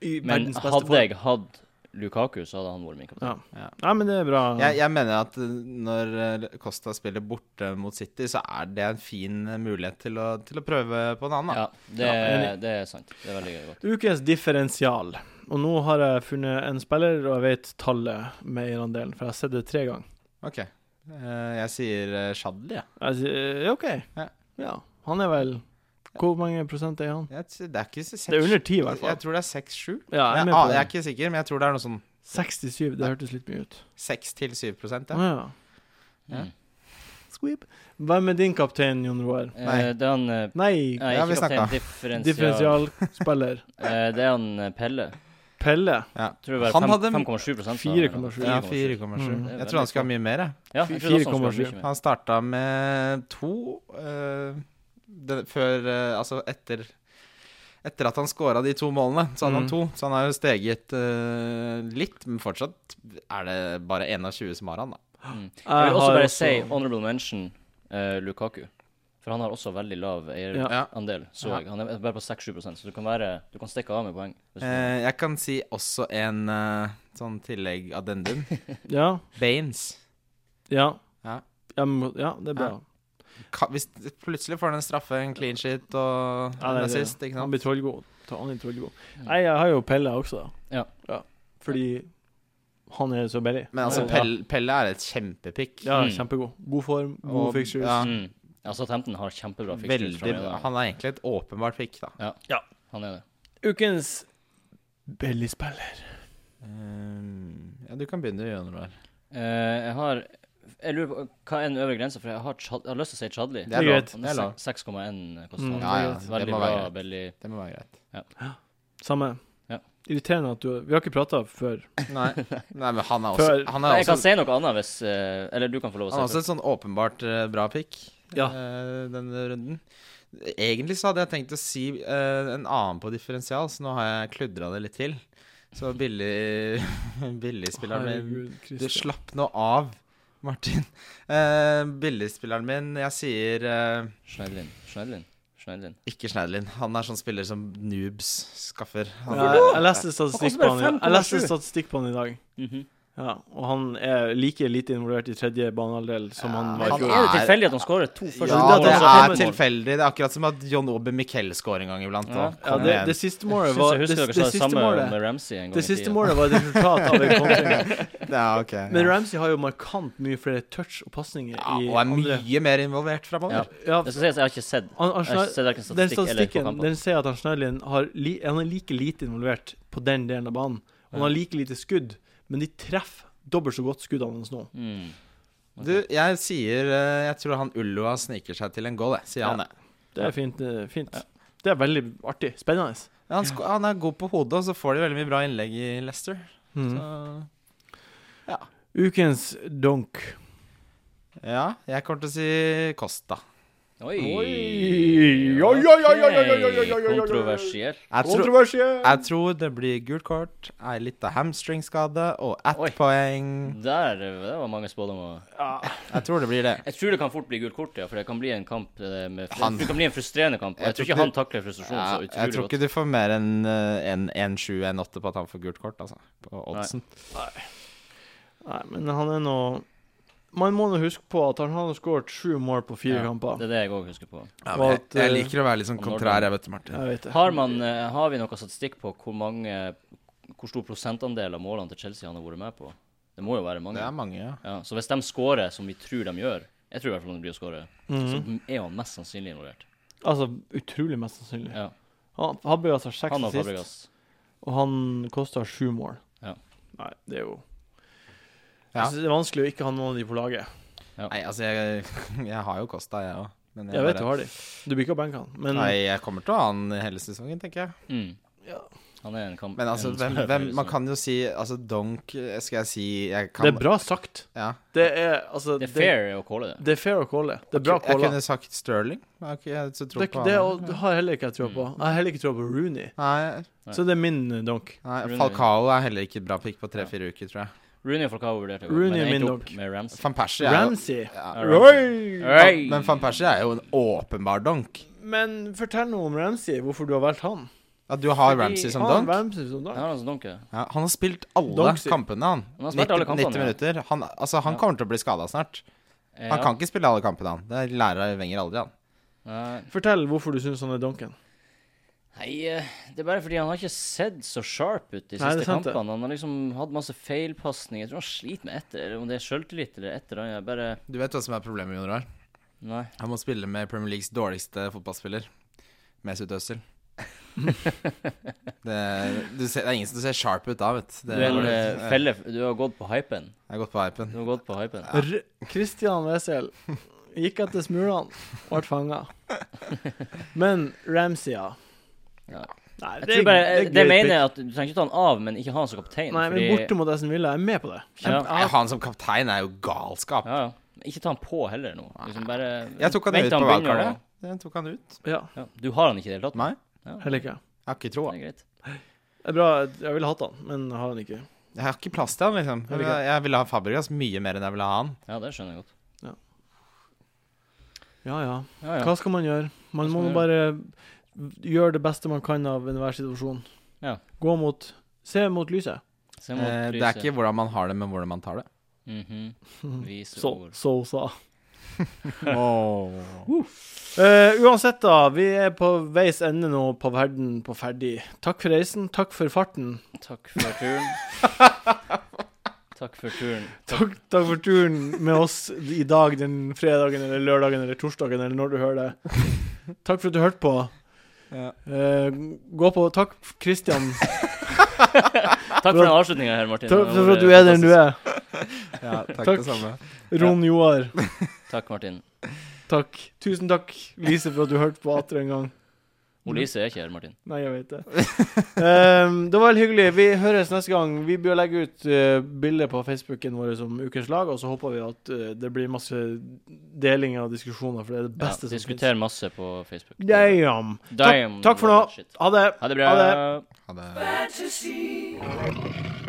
Speaker 1: i
Speaker 3: Men
Speaker 1: verdens beste
Speaker 3: hadde
Speaker 1: form.
Speaker 3: jeg hatt Lukaku, så hadde han vært min
Speaker 1: Ja.
Speaker 3: kaptein.
Speaker 1: Nei, men det er bra.
Speaker 4: Jeg, jeg mener at eh, når eh, Costa spiller borte mot City, så er det en fin eh, mulighet til å, til å prøve på en annen.
Speaker 3: Ja,
Speaker 4: Da.
Speaker 3: det,
Speaker 1: Ja,
Speaker 3: det er sant. Det er veldig godt.
Speaker 1: Ukens differensial. Og nå har jeg funnet en spiller, og jeg vet tallet med eierandelen, for jeg har sett det tre ganger.
Speaker 4: Ok. Eh, jeg sier eh, Shadli, jeg.
Speaker 1: Jeg sier, eh, OK.
Speaker 4: Ja.
Speaker 1: Ja. Han er vel Hvor mange prosent er han?
Speaker 4: jeg. t- Det er ikke seks
Speaker 1: Det er under ti, i hvert
Speaker 4: Jeg
Speaker 1: fall.
Speaker 4: tror det er seks-sju.
Speaker 1: Ja, jeg
Speaker 4: Jeg,
Speaker 1: er med
Speaker 4: ah,
Speaker 1: på
Speaker 4: jeg er
Speaker 1: det.
Speaker 4: ikke sikker, men jeg tror det er noe sånn
Speaker 1: 67, det hørtes litt mye ut.
Speaker 4: 6-7 prosent,
Speaker 1: Å
Speaker 4: ja.
Speaker 1: ja.
Speaker 4: Ja.
Speaker 3: Mm.
Speaker 1: Squeeb. Hvem er din kaptein, Jon Roar?
Speaker 3: Eh,
Speaker 4: Nei.
Speaker 3: Det er han eh,
Speaker 1: Nei,
Speaker 3: Nei,
Speaker 4: Ja, vi
Speaker 3: ikke kaptein,
Speaker 4: snakket.
Speaker 3: differensial.
Speaker 1: differensialspiller.
Speaker 3: Eh, Det er han eh, Pelle.
Speaker 1: Pelle.
Speaker 3: Tror det var
Speaker 4: Han
Speaker 3: fem-
Speaker 4: hadde-
Speaker 3: 5,7 sa han.
Speaker 1: 4,7.
Speaker 4: Ja,
Speaker 3: 4,7.
Speaker 4: 4,7.
Speaker 1: Mm.
Speaker 4: Jeg tror han skal ha mye mer, jeg.
Speaker 3: Ja, jeg trodde også han skulle
Speaker 1: 4,7.
Speaker 3: ha mye mer.
Speaker 4: Han starta med to eh, det, før eh, Altså etter etter at han skåra de to målene, så hadde
Speaker 1: Mm.
Speaker 4: han to. Så han har jo steget eh, litt, men fortsatt er det bare 21 som har han, da.
Speaker 3: Jeg vil også
Speaker 1: har
Speaker 3: bare si honorable mention eh, Lukaku. For han har også veldig lav
Speaker 1: Ja.
Speaker 4: Ja.
Speaker 3: eierandel, så jeg. Han er bare på 6-7 så du kan, være, du kan stikke av med poeng. Hvis du,
Speaker 4: Eh, jeg kan si også en eh, sånn tillegg addendum.
Speaker 1: Ja.
Speaker 4: Baines.
Speaker 1: Ja.
Speaker 4: Ja.
Speaker 1: Ja, men- ja, det er bra.
Speaker 4: Ka, hvis plutselig får han en straffe, en clean sheet og
Speaker 1: Ja,
Speaker 4: en
Speaker 1: det er det.
Speaker 4: assist, ikke
Speaker 1: Han
Speaker 4: sant?
Speaker 1: blir trollgod. Ta han i trollgod. Nei, jeg har jo Pelle også, da.
Speaker 3: Ja.
Speaker 1: Fordi han er så billig.
Speaker 4: Men altså,
Speaker 1: Ja.
Speaker 4: Pelle, Pelle er et kjempepick.
Speaker 1: Ja,
Speaker 3: Mm.
Speaker 1: kjempegod. God form, gode
Speaker 4: Og-
Speaker 1: fixtures.
Speaker 4: ja,
Speaker 3: mm. Altså, Tempton har kjempebra fixtures.
Speaker 4: Veldig,
Speaker 3: framover.
Speaker 4: han er egentlig et åpenbart pick, da.
Speaker 3: Han er det.
Speaker 1: Ukens billigspiller.
Speaker 4: Eh, ja, du kan begynne å gjøre noe der.
Speaker 3: Eh, jeg har Jeg lurer på hva er den øvre grensa, for jeg har, Chad, jeg har lyst til å si Chadli.
Speaker 4: Det er
Speaker 1: Det er
Speaker 4: lov.
Speaker 1: greit.
Speaker 3: Han
Speaker 4: Det er
Speaker 3: er
Speaker 4: lov.
Speaker 3: se- 6,1 koster
Speaker 1: Mm.
Speaker 3: han.
Speaker 4: Ja, ja, det må
Speaker 3: Veldig
Speaker 4: være
Speaker 3: bra,
Speaker 4: greit.
Speaker 3: veldig
Speaker 4: Det må være greit.
Speaker 1: Samme.
Speaker 3: Ja.
Speaker 1: Irriterende at du Vi har ikke prata før.
Speaker 4: Nei, Nei men han er også,
Speaker 1: Før-
Speaker 4: han
Speaker 3: Nei,
Speaker 4: er
Speaker 3: Jeg kan
Speaker 4: også,
Speaker 3: si noe annet hvis eh, Eller du kan få lov
Speaker 4: han er
Speaker 3: å si
Speaker 4: også et sånn åpenbart eh, bra pick
Speaker 1: Ja.
Speaker 4: eh, denne runden. Egentlig så hadde jeg tenkt å si eh, en annen på differensial, så nå har jeg kludra det litt til. Så billig billigspilleren min
Speaker 1: Herregud,
Speaker 4: Du
Speaker 1: Christian.
Speaker 4: slapp nå av, Martin. Eh, billigspilleren min Jeg sier eh,
Speaker 3: Schneidlin. Schneidlin. Schneidlin.
Speaker 4: ikke Schneidlin. Han er sånn spiller som noobs skaffer. Han,
Speaker 1: Ja, jeg, jeg leste statistikk på
Speaker 3: bare
Speaker 1: han i dag. Jeg leste
Speaker 3: 5,7.
Speaker 1: statistikk på han i dag.
Speaker 3: Mhm.
Speaker 1: Ja, og han er like lite involvert i tredje banehalvdel som han var i
Speaker 4: han
Speaker 1: fjor.
Speaker 3: Er det
Speaker 4: er-
Speaker 3: tilfeldig at han skårer to første
Speaker 4: Ja,
Speaker 3: mål?
Speaker 4: det
Speaker 3: Altså,
Speaker 4: er
Speaker 3: fem mål?
Speaker 4: tilfeldig. Det er akkurat som at John Obe Mikkel scorer en gang iblant.
Speaker 3: Ja.
Speaker 4: da.
Speaker 1: Ja,
Speaker 4: Kom
Speaker 1: det,
Speaker 4: igjen.
Speaker 1: det siste målet
Speaker 3: Jeg
Speaker 1: var
Speaker 3: synes
Speaker 1: Det,
Speaker 3: jeg
Speaker 1: det,
Speaker 3: husker dere sa det
Speaker 1: siste
Speaker 3: samme
Speaker 1: målet
Speaker 3: med Ramsey en gang
Speaker 1: Det
Speaker 3: i
Speaker 1: siste
Speaker 3: tiden.
Speaker 1: målet var et resultat av en kontring.
Speaker 4: Ja, ok.
Speaker 1: Men
Speaker 4: ja.
Speaker 1: Ramsey har jo markant mye flere touch og pasninger
Speaker 4: Ja,
Speaker 1: i
Speaker 4: og er
Speaker 1: andre
Speaker 4: mye mer
Speaker 3: Ja.
Speaker 4: involvert framover.
Speaker 1: Ja,
Speaker 3: Det skal sies, jeg har ikke sett
Speaker 1: han, han,
Speaker 3: Jeg har ikke sett hverken
Speaker 1: Snar- den
Speaker 3: statistikk eller på
Speaker 1: statistikken
Speaker 3: kampen.
Speaker 1: den sier at han Schneiderlin har li, han er like lite involvert på den delen av banen. Og han har like lite skudd, men de treffer dobbelt så godt skuddene hans nå.
Speaker 3: Mm.
Speaker 4: Du, jeg sier eh, Jeg tror han Ullua sniker seg til en goal, jeg, sier
Speaker 1: Ja.
Speaker 4: han det.
Speaker 1: Det er fint. eh, fint. Det er veldig artig. Spennende.
Speaker 4: Ja, Han, sko- han er god på hodet, og så får de veldig mye bra innlegg i Leicester.
Speaker 1: Mhm.
Speaker 4: Så
Speaker 1: Ukens donk.
Speaker 4: ja, jeg kommer til å si Costa.
Speaker 3: Oi.
Speaker 1: Oi, oi, oi, oi, oi, oi, oi, oi, oi, oi.
Speaker 3: Kontroversielt.
Speaker 4: Jeg tror,
Speaker 1: Kontroversiell!
Speaker 4: jeg tror det blir gult kort, ei lita hamstringskade og
Speaker 3: Oi.
Speaker 4: ett poeng.
Speaker 3: Der det var mange spådommer.
Speaker 1: Ja.
Speaker 4: Jeg tror det blir det.
Speaker 3: Jeg tror det kan fort bli gult kort, ja, for det kan bli en kamp eh, med
Speaker 4: Han-
Speaker 3: Det kan bli en frustrerende kamp. og
Speaker 4: Jeg
Speaker 3: Jeg
Speaker 4: tror
Speaker 3: tror ikke
Speaker 4: ikke-
Speaker 3: han takler frustrasjonen
Speaker 4: Ja,
Speaker 3: så
Speaker 4: jeg tror
Speaker 3: utrolig godt.
Speaker 4: ikke du får mer enn eh, en 1-7-1-8 på at han får gult kort, altså. På oddsen.
Speaker 1: Nei, men han er nå Man må nå huske på at han har skåret sju mål på fire
Speaker 3: Ja,
Speaker 1: kamper.
Speaker 3: Det er det jeg òg husker på.
Speaker 4: Ja,
Speaker 1: Og
Speaker 4: men jeg,
Speaker 1: at,
Speaker 4: jeg
Speaker 1: eh,
Speaker 4: liker å være litt sånn
Speaker 3: han når
Speaker 4: kontrær,
Speaker 3: den-
Speaker 4: jeg vet du, Martin.
Speaker 1: Jeg vet det.
Speaker 3: Har, man, eh, har vi noe statistikk på hvor mange Hvor stor prosentandel av målene til Chelsea han har vært med på? Det må jo være mange.
Speaker 4: Det er mange, ja.
Speaker 3: Ja, så hvis de scorer som vi tror de gjør Jeg tror i hvert fall de blir å score. Så
Speaker 1: Mhm.
Speaker 3: er jo han mest sannsynlig involvert.
Speaker 1: Altså utrolig mest sannsynlig.
Speaker 3: Ja.
Speaker 1: Han Fabregas har seks
Speaker 3: Han og
Speaker 1: sist,
Speaker 3: Fabregas.
Speaker 1: og han koster sju mål.
Speaker 3: Ja.
Speaker 1: Nei, det er jo
Speaker 4: Ja.
Speaker 1: Jeg synes Det er vanskelig å ikke ha noen av de på laget.
Speaker 4: Nei, altså, jeg, jeg har jo Costa, jeg òg. Men
Speaker 1: Jeg vet du
Speaker 4: bare-
Speaker 1: har de. Du blir ikke å benke han, men
Speaker 4: Nei, jeg kommer til å ha han hele sesongen, tenker jeg.
Speaker 3: Mm.
Speaker 1: Ja.
Speaker 3: Han er en kamp
Speaker 4: Men altså,
Speaker 3: en
Speaker 4: hvem,
Speaker 3: spiller
Speaker 4: hvem
Speaker 3: som-
Speaker 4: Man kan jo si Altså, Donk eh, Skal jeg si Jeg kan
Speaker 1: sånn. det er bra sagt.
Speaker 4: Ja.
Speaker 1: Det er altså
Speaker 3: Det er fair å calle
Speaker 1: Det,
Speaker 3: det.
Speaker 1: det er fair å calle. Det er bra
Speaker 4: Jeg
Speaker 1: calla.
Speaker 4: kunne sagt Sterling. Jeg har ikke jeg har ikke så tro
Speaker 1: Det,
Speaker 4: på
Speaker 1: det,
Speaker 4: han.
Speaker 1: og- det har jeg heller ikke jeg tror på.
Speaker 3: Mm.
Speaker 1: Jeg har heller ikke tro på Rooney.
Speaker 4: Nei,
Speaker 3: Nei.
Speaker 1: Så det er min eh, donk.
Speaker 4: nei,
Speaker 3: Rooney.
Speaker 4: Falcao er heller ikke et bra pick på tre-fire uker, tror jeg.
Speaker 3: Rooney og Falcao vurderte å gå,
Speaker 1: Rooney
Speaker 3: men
Speaker 1: er min
Speaker 3: endte opp
Speaker 1: dog.
Speaker 3: med Ramsey.
Speaker 4: Van Persie er jo
Speaker 1: Ramsey.
Speaker 4: ja,
Speaker 1: Oi!
Speaker 3: Oi!
Speaker 4: Men van Persie er jo en åpenbar donk.
Speaker 1: Men fortell noe om Ramsey, hvorfor du har valgt han.
Speaker 4: Ja, du har
Speaker 3: Fordi
Speaker 4: Ramsey som
Speaker 1: Han
Speaker 4: donk.
Speaker 1: Ramsey som
Speaker 3: Han
Speaker 1: donk.
Speaker 3: har altså donke.
Speaker 4: Ja, han har spilt alle
Speaker 1: Donkey.
Speaker 4: kampene, han.
Speaker 3: Han har spilt alle kampene,
Speaker 4: 90
Speaker 3: ja.
Speaker 4: minutter. Han, altså, han
Speaker 3: Ja.
Speaker 4: kommer til å bli skada snart.
Speaker 3: Eh,
Speaker 4: Han
Speaker 3: ja.
Speaker 4: kan ikke spille alle kampene, han. Det lærer Wenger aldri, han.
Speaker 3: Nei.
Speaker 1: Fortell hvorfor du syns han er donken.
Speaker 3: Nei, eh, det er bare fordi han har ikke sett så sharp ut
Speaker 1: Nei,
Speaker 3: de
Speaker 1: det er
Speaker 3: siste
Speaker 1: sant det.
Speaker 3: kampene. Han har liksom hatt masse feilpasning. Jeg tror han sliter med etter, eller om det er sjøltillit eller et eller annet. Bare
Speaker 4: Du vet hva som er problemet, Jon Roar?
Speaker 3: Nei.
Speaker 4: Han må spille med Premier Leagues dårligste fotballspiller, Mesut Özil. det, du ser, det er ingen som ser sharp ut da, vet du. Det,
Speaker 3: Du, er en, eh,
Speaker 4: det,
Speaker 3: felle, du har gått på hypen.
Speaker 4: jeg har gått på hypen.
Speaker 3: Du har gått på hypen.
Speaker 1: R Christian Wessel gikk etter smulene og ble fanga. Men Ramsey, ja.
Speaker 3: Ja.
Speaker 1: Nei,
Speaker 3: Jeg tror bare, eh,
Speaker 1: er
Speaker 3: det,
Speaker 1: great
Speaker 3: mener
Speaker 1: pick.
Speaker 3: jeg at Du trenger ikke ta han av, men ikke ha han som kaptein.
Speaker 1: Nei, men borte mot Aston Villa, jeg er med på det.
Speaker 3: ja,
Speaker 4: Kjempe, ja. Han som kaptein er jo galskap.
Speaker 3: ja, ja. Men Ikke ta han på heller nå. Liksom bare
Speaker 4: Jeg tok han
Speaker 3: vent
Speaker 4: ut
Speaker 3: til
Speaker 4: på
Speaker 3: begynner
Speaker 4: valgkartet. Jeg tok han ut.
Speaker 1: Ja,
Speaker 3: å- Ja. Du har han ikke i det hele tatt?
Speaker 4: Nei,
Speaker 3: Ja, det
Speaker 1: heller ikke.
Speaker 4: jeg har ikke troa.
Speaker 3: er greit.
Speaker 1: Det er bra, jeg ville hatt han, men har han ikke.
Speaker 4: Jeg har ikke plass til han, liksom.
Speaker 1: Heller ikke.
Speaker 4: Jeg, jeg ville ha Fabregas mye mer enn jeg ville ha han.
Speaker 3: Ja, det skjønner jeg godt.
Speaker 1: Ja ja.
Speaker 3: Ja, ja.
Speaker 1: Hva skal man gjøre? Man
Speaker 3: Hva
Speaker 1: må
Speaker 3: skal man
Speaker 1: bare gjøre det beste man kan av enhver situasjon.
Speaker 3: Ja.
Speaker 1: Gå mot Se mot lyset.
Speaker 3: Se mot
Speaker 4: Eh, Det er
Speaker 3: lyset.
Speaker 4: ikke hvordan man har det, men hvordan man tar det.
Speaker 3: Mhm. Vise
Speaker 1: Så,
Speaker 3: ord.
Speaker 1: så sa.
Speaker 4: Oh.
Speaker 1: Eh, uansett, da. Vi er på veis ende nå på verden på ferdig. Takk for reisen. Takk for farten.
Speaker 3: Takk for turen. Takk for turen.
Speaker 1: Takk, takk for turen med oss i dag, den fredagen eller lørdagen eller torsdagen eller når du hører det. Takk for at du hørte på.
Speaker 4: Ja.
Speaker 1: Eh, gå på Takk, Christian.
Speaker 3: Takk for den avslutninga her, Martin.
Speaker 1: Takk
Speaker 3: Det
Speaker 1: for
Speaker 3: var
Speaker 1: at du er den du
Speaker 3: fantastisk.
Speaker 1: er.
Speaker 4: Ja, takk,
Speaker 1: Takk.
Speaker 4: det samme.
Speaker 1: Ron Joar.
Speaker 3: Takk, Martin.
Speaker 1: Takk. Tusen takk, Lise, for at du hørte på atter en gang.
Speaker 3: Olise er ikke her, Martin.
Speaker 1: Nei, jeg vet det. Ehm, det var veldig hyggelig. Vi høres neste gang. Vi bør legge ut uh, bilde på Facebooken vår som Ukens lag, og så håper vi at eh, det blir masse deling av diskusjoner, for det er det beste
Speaker 3: ja,
Speaker 1: som
Speaker 3: Diskuter masse på Facebook.
Speaker 1: finnes. Damn. Takk,
Speaker 3: Damn,
Speaker 1: takk for nå.
Speaker 3: shit.
Speaker 1: Ha det.
Speaker 3: Ha det bra.
Speaker 1: Ha det.
Speaker 4: Ha det.
Speaker 2: fantasy.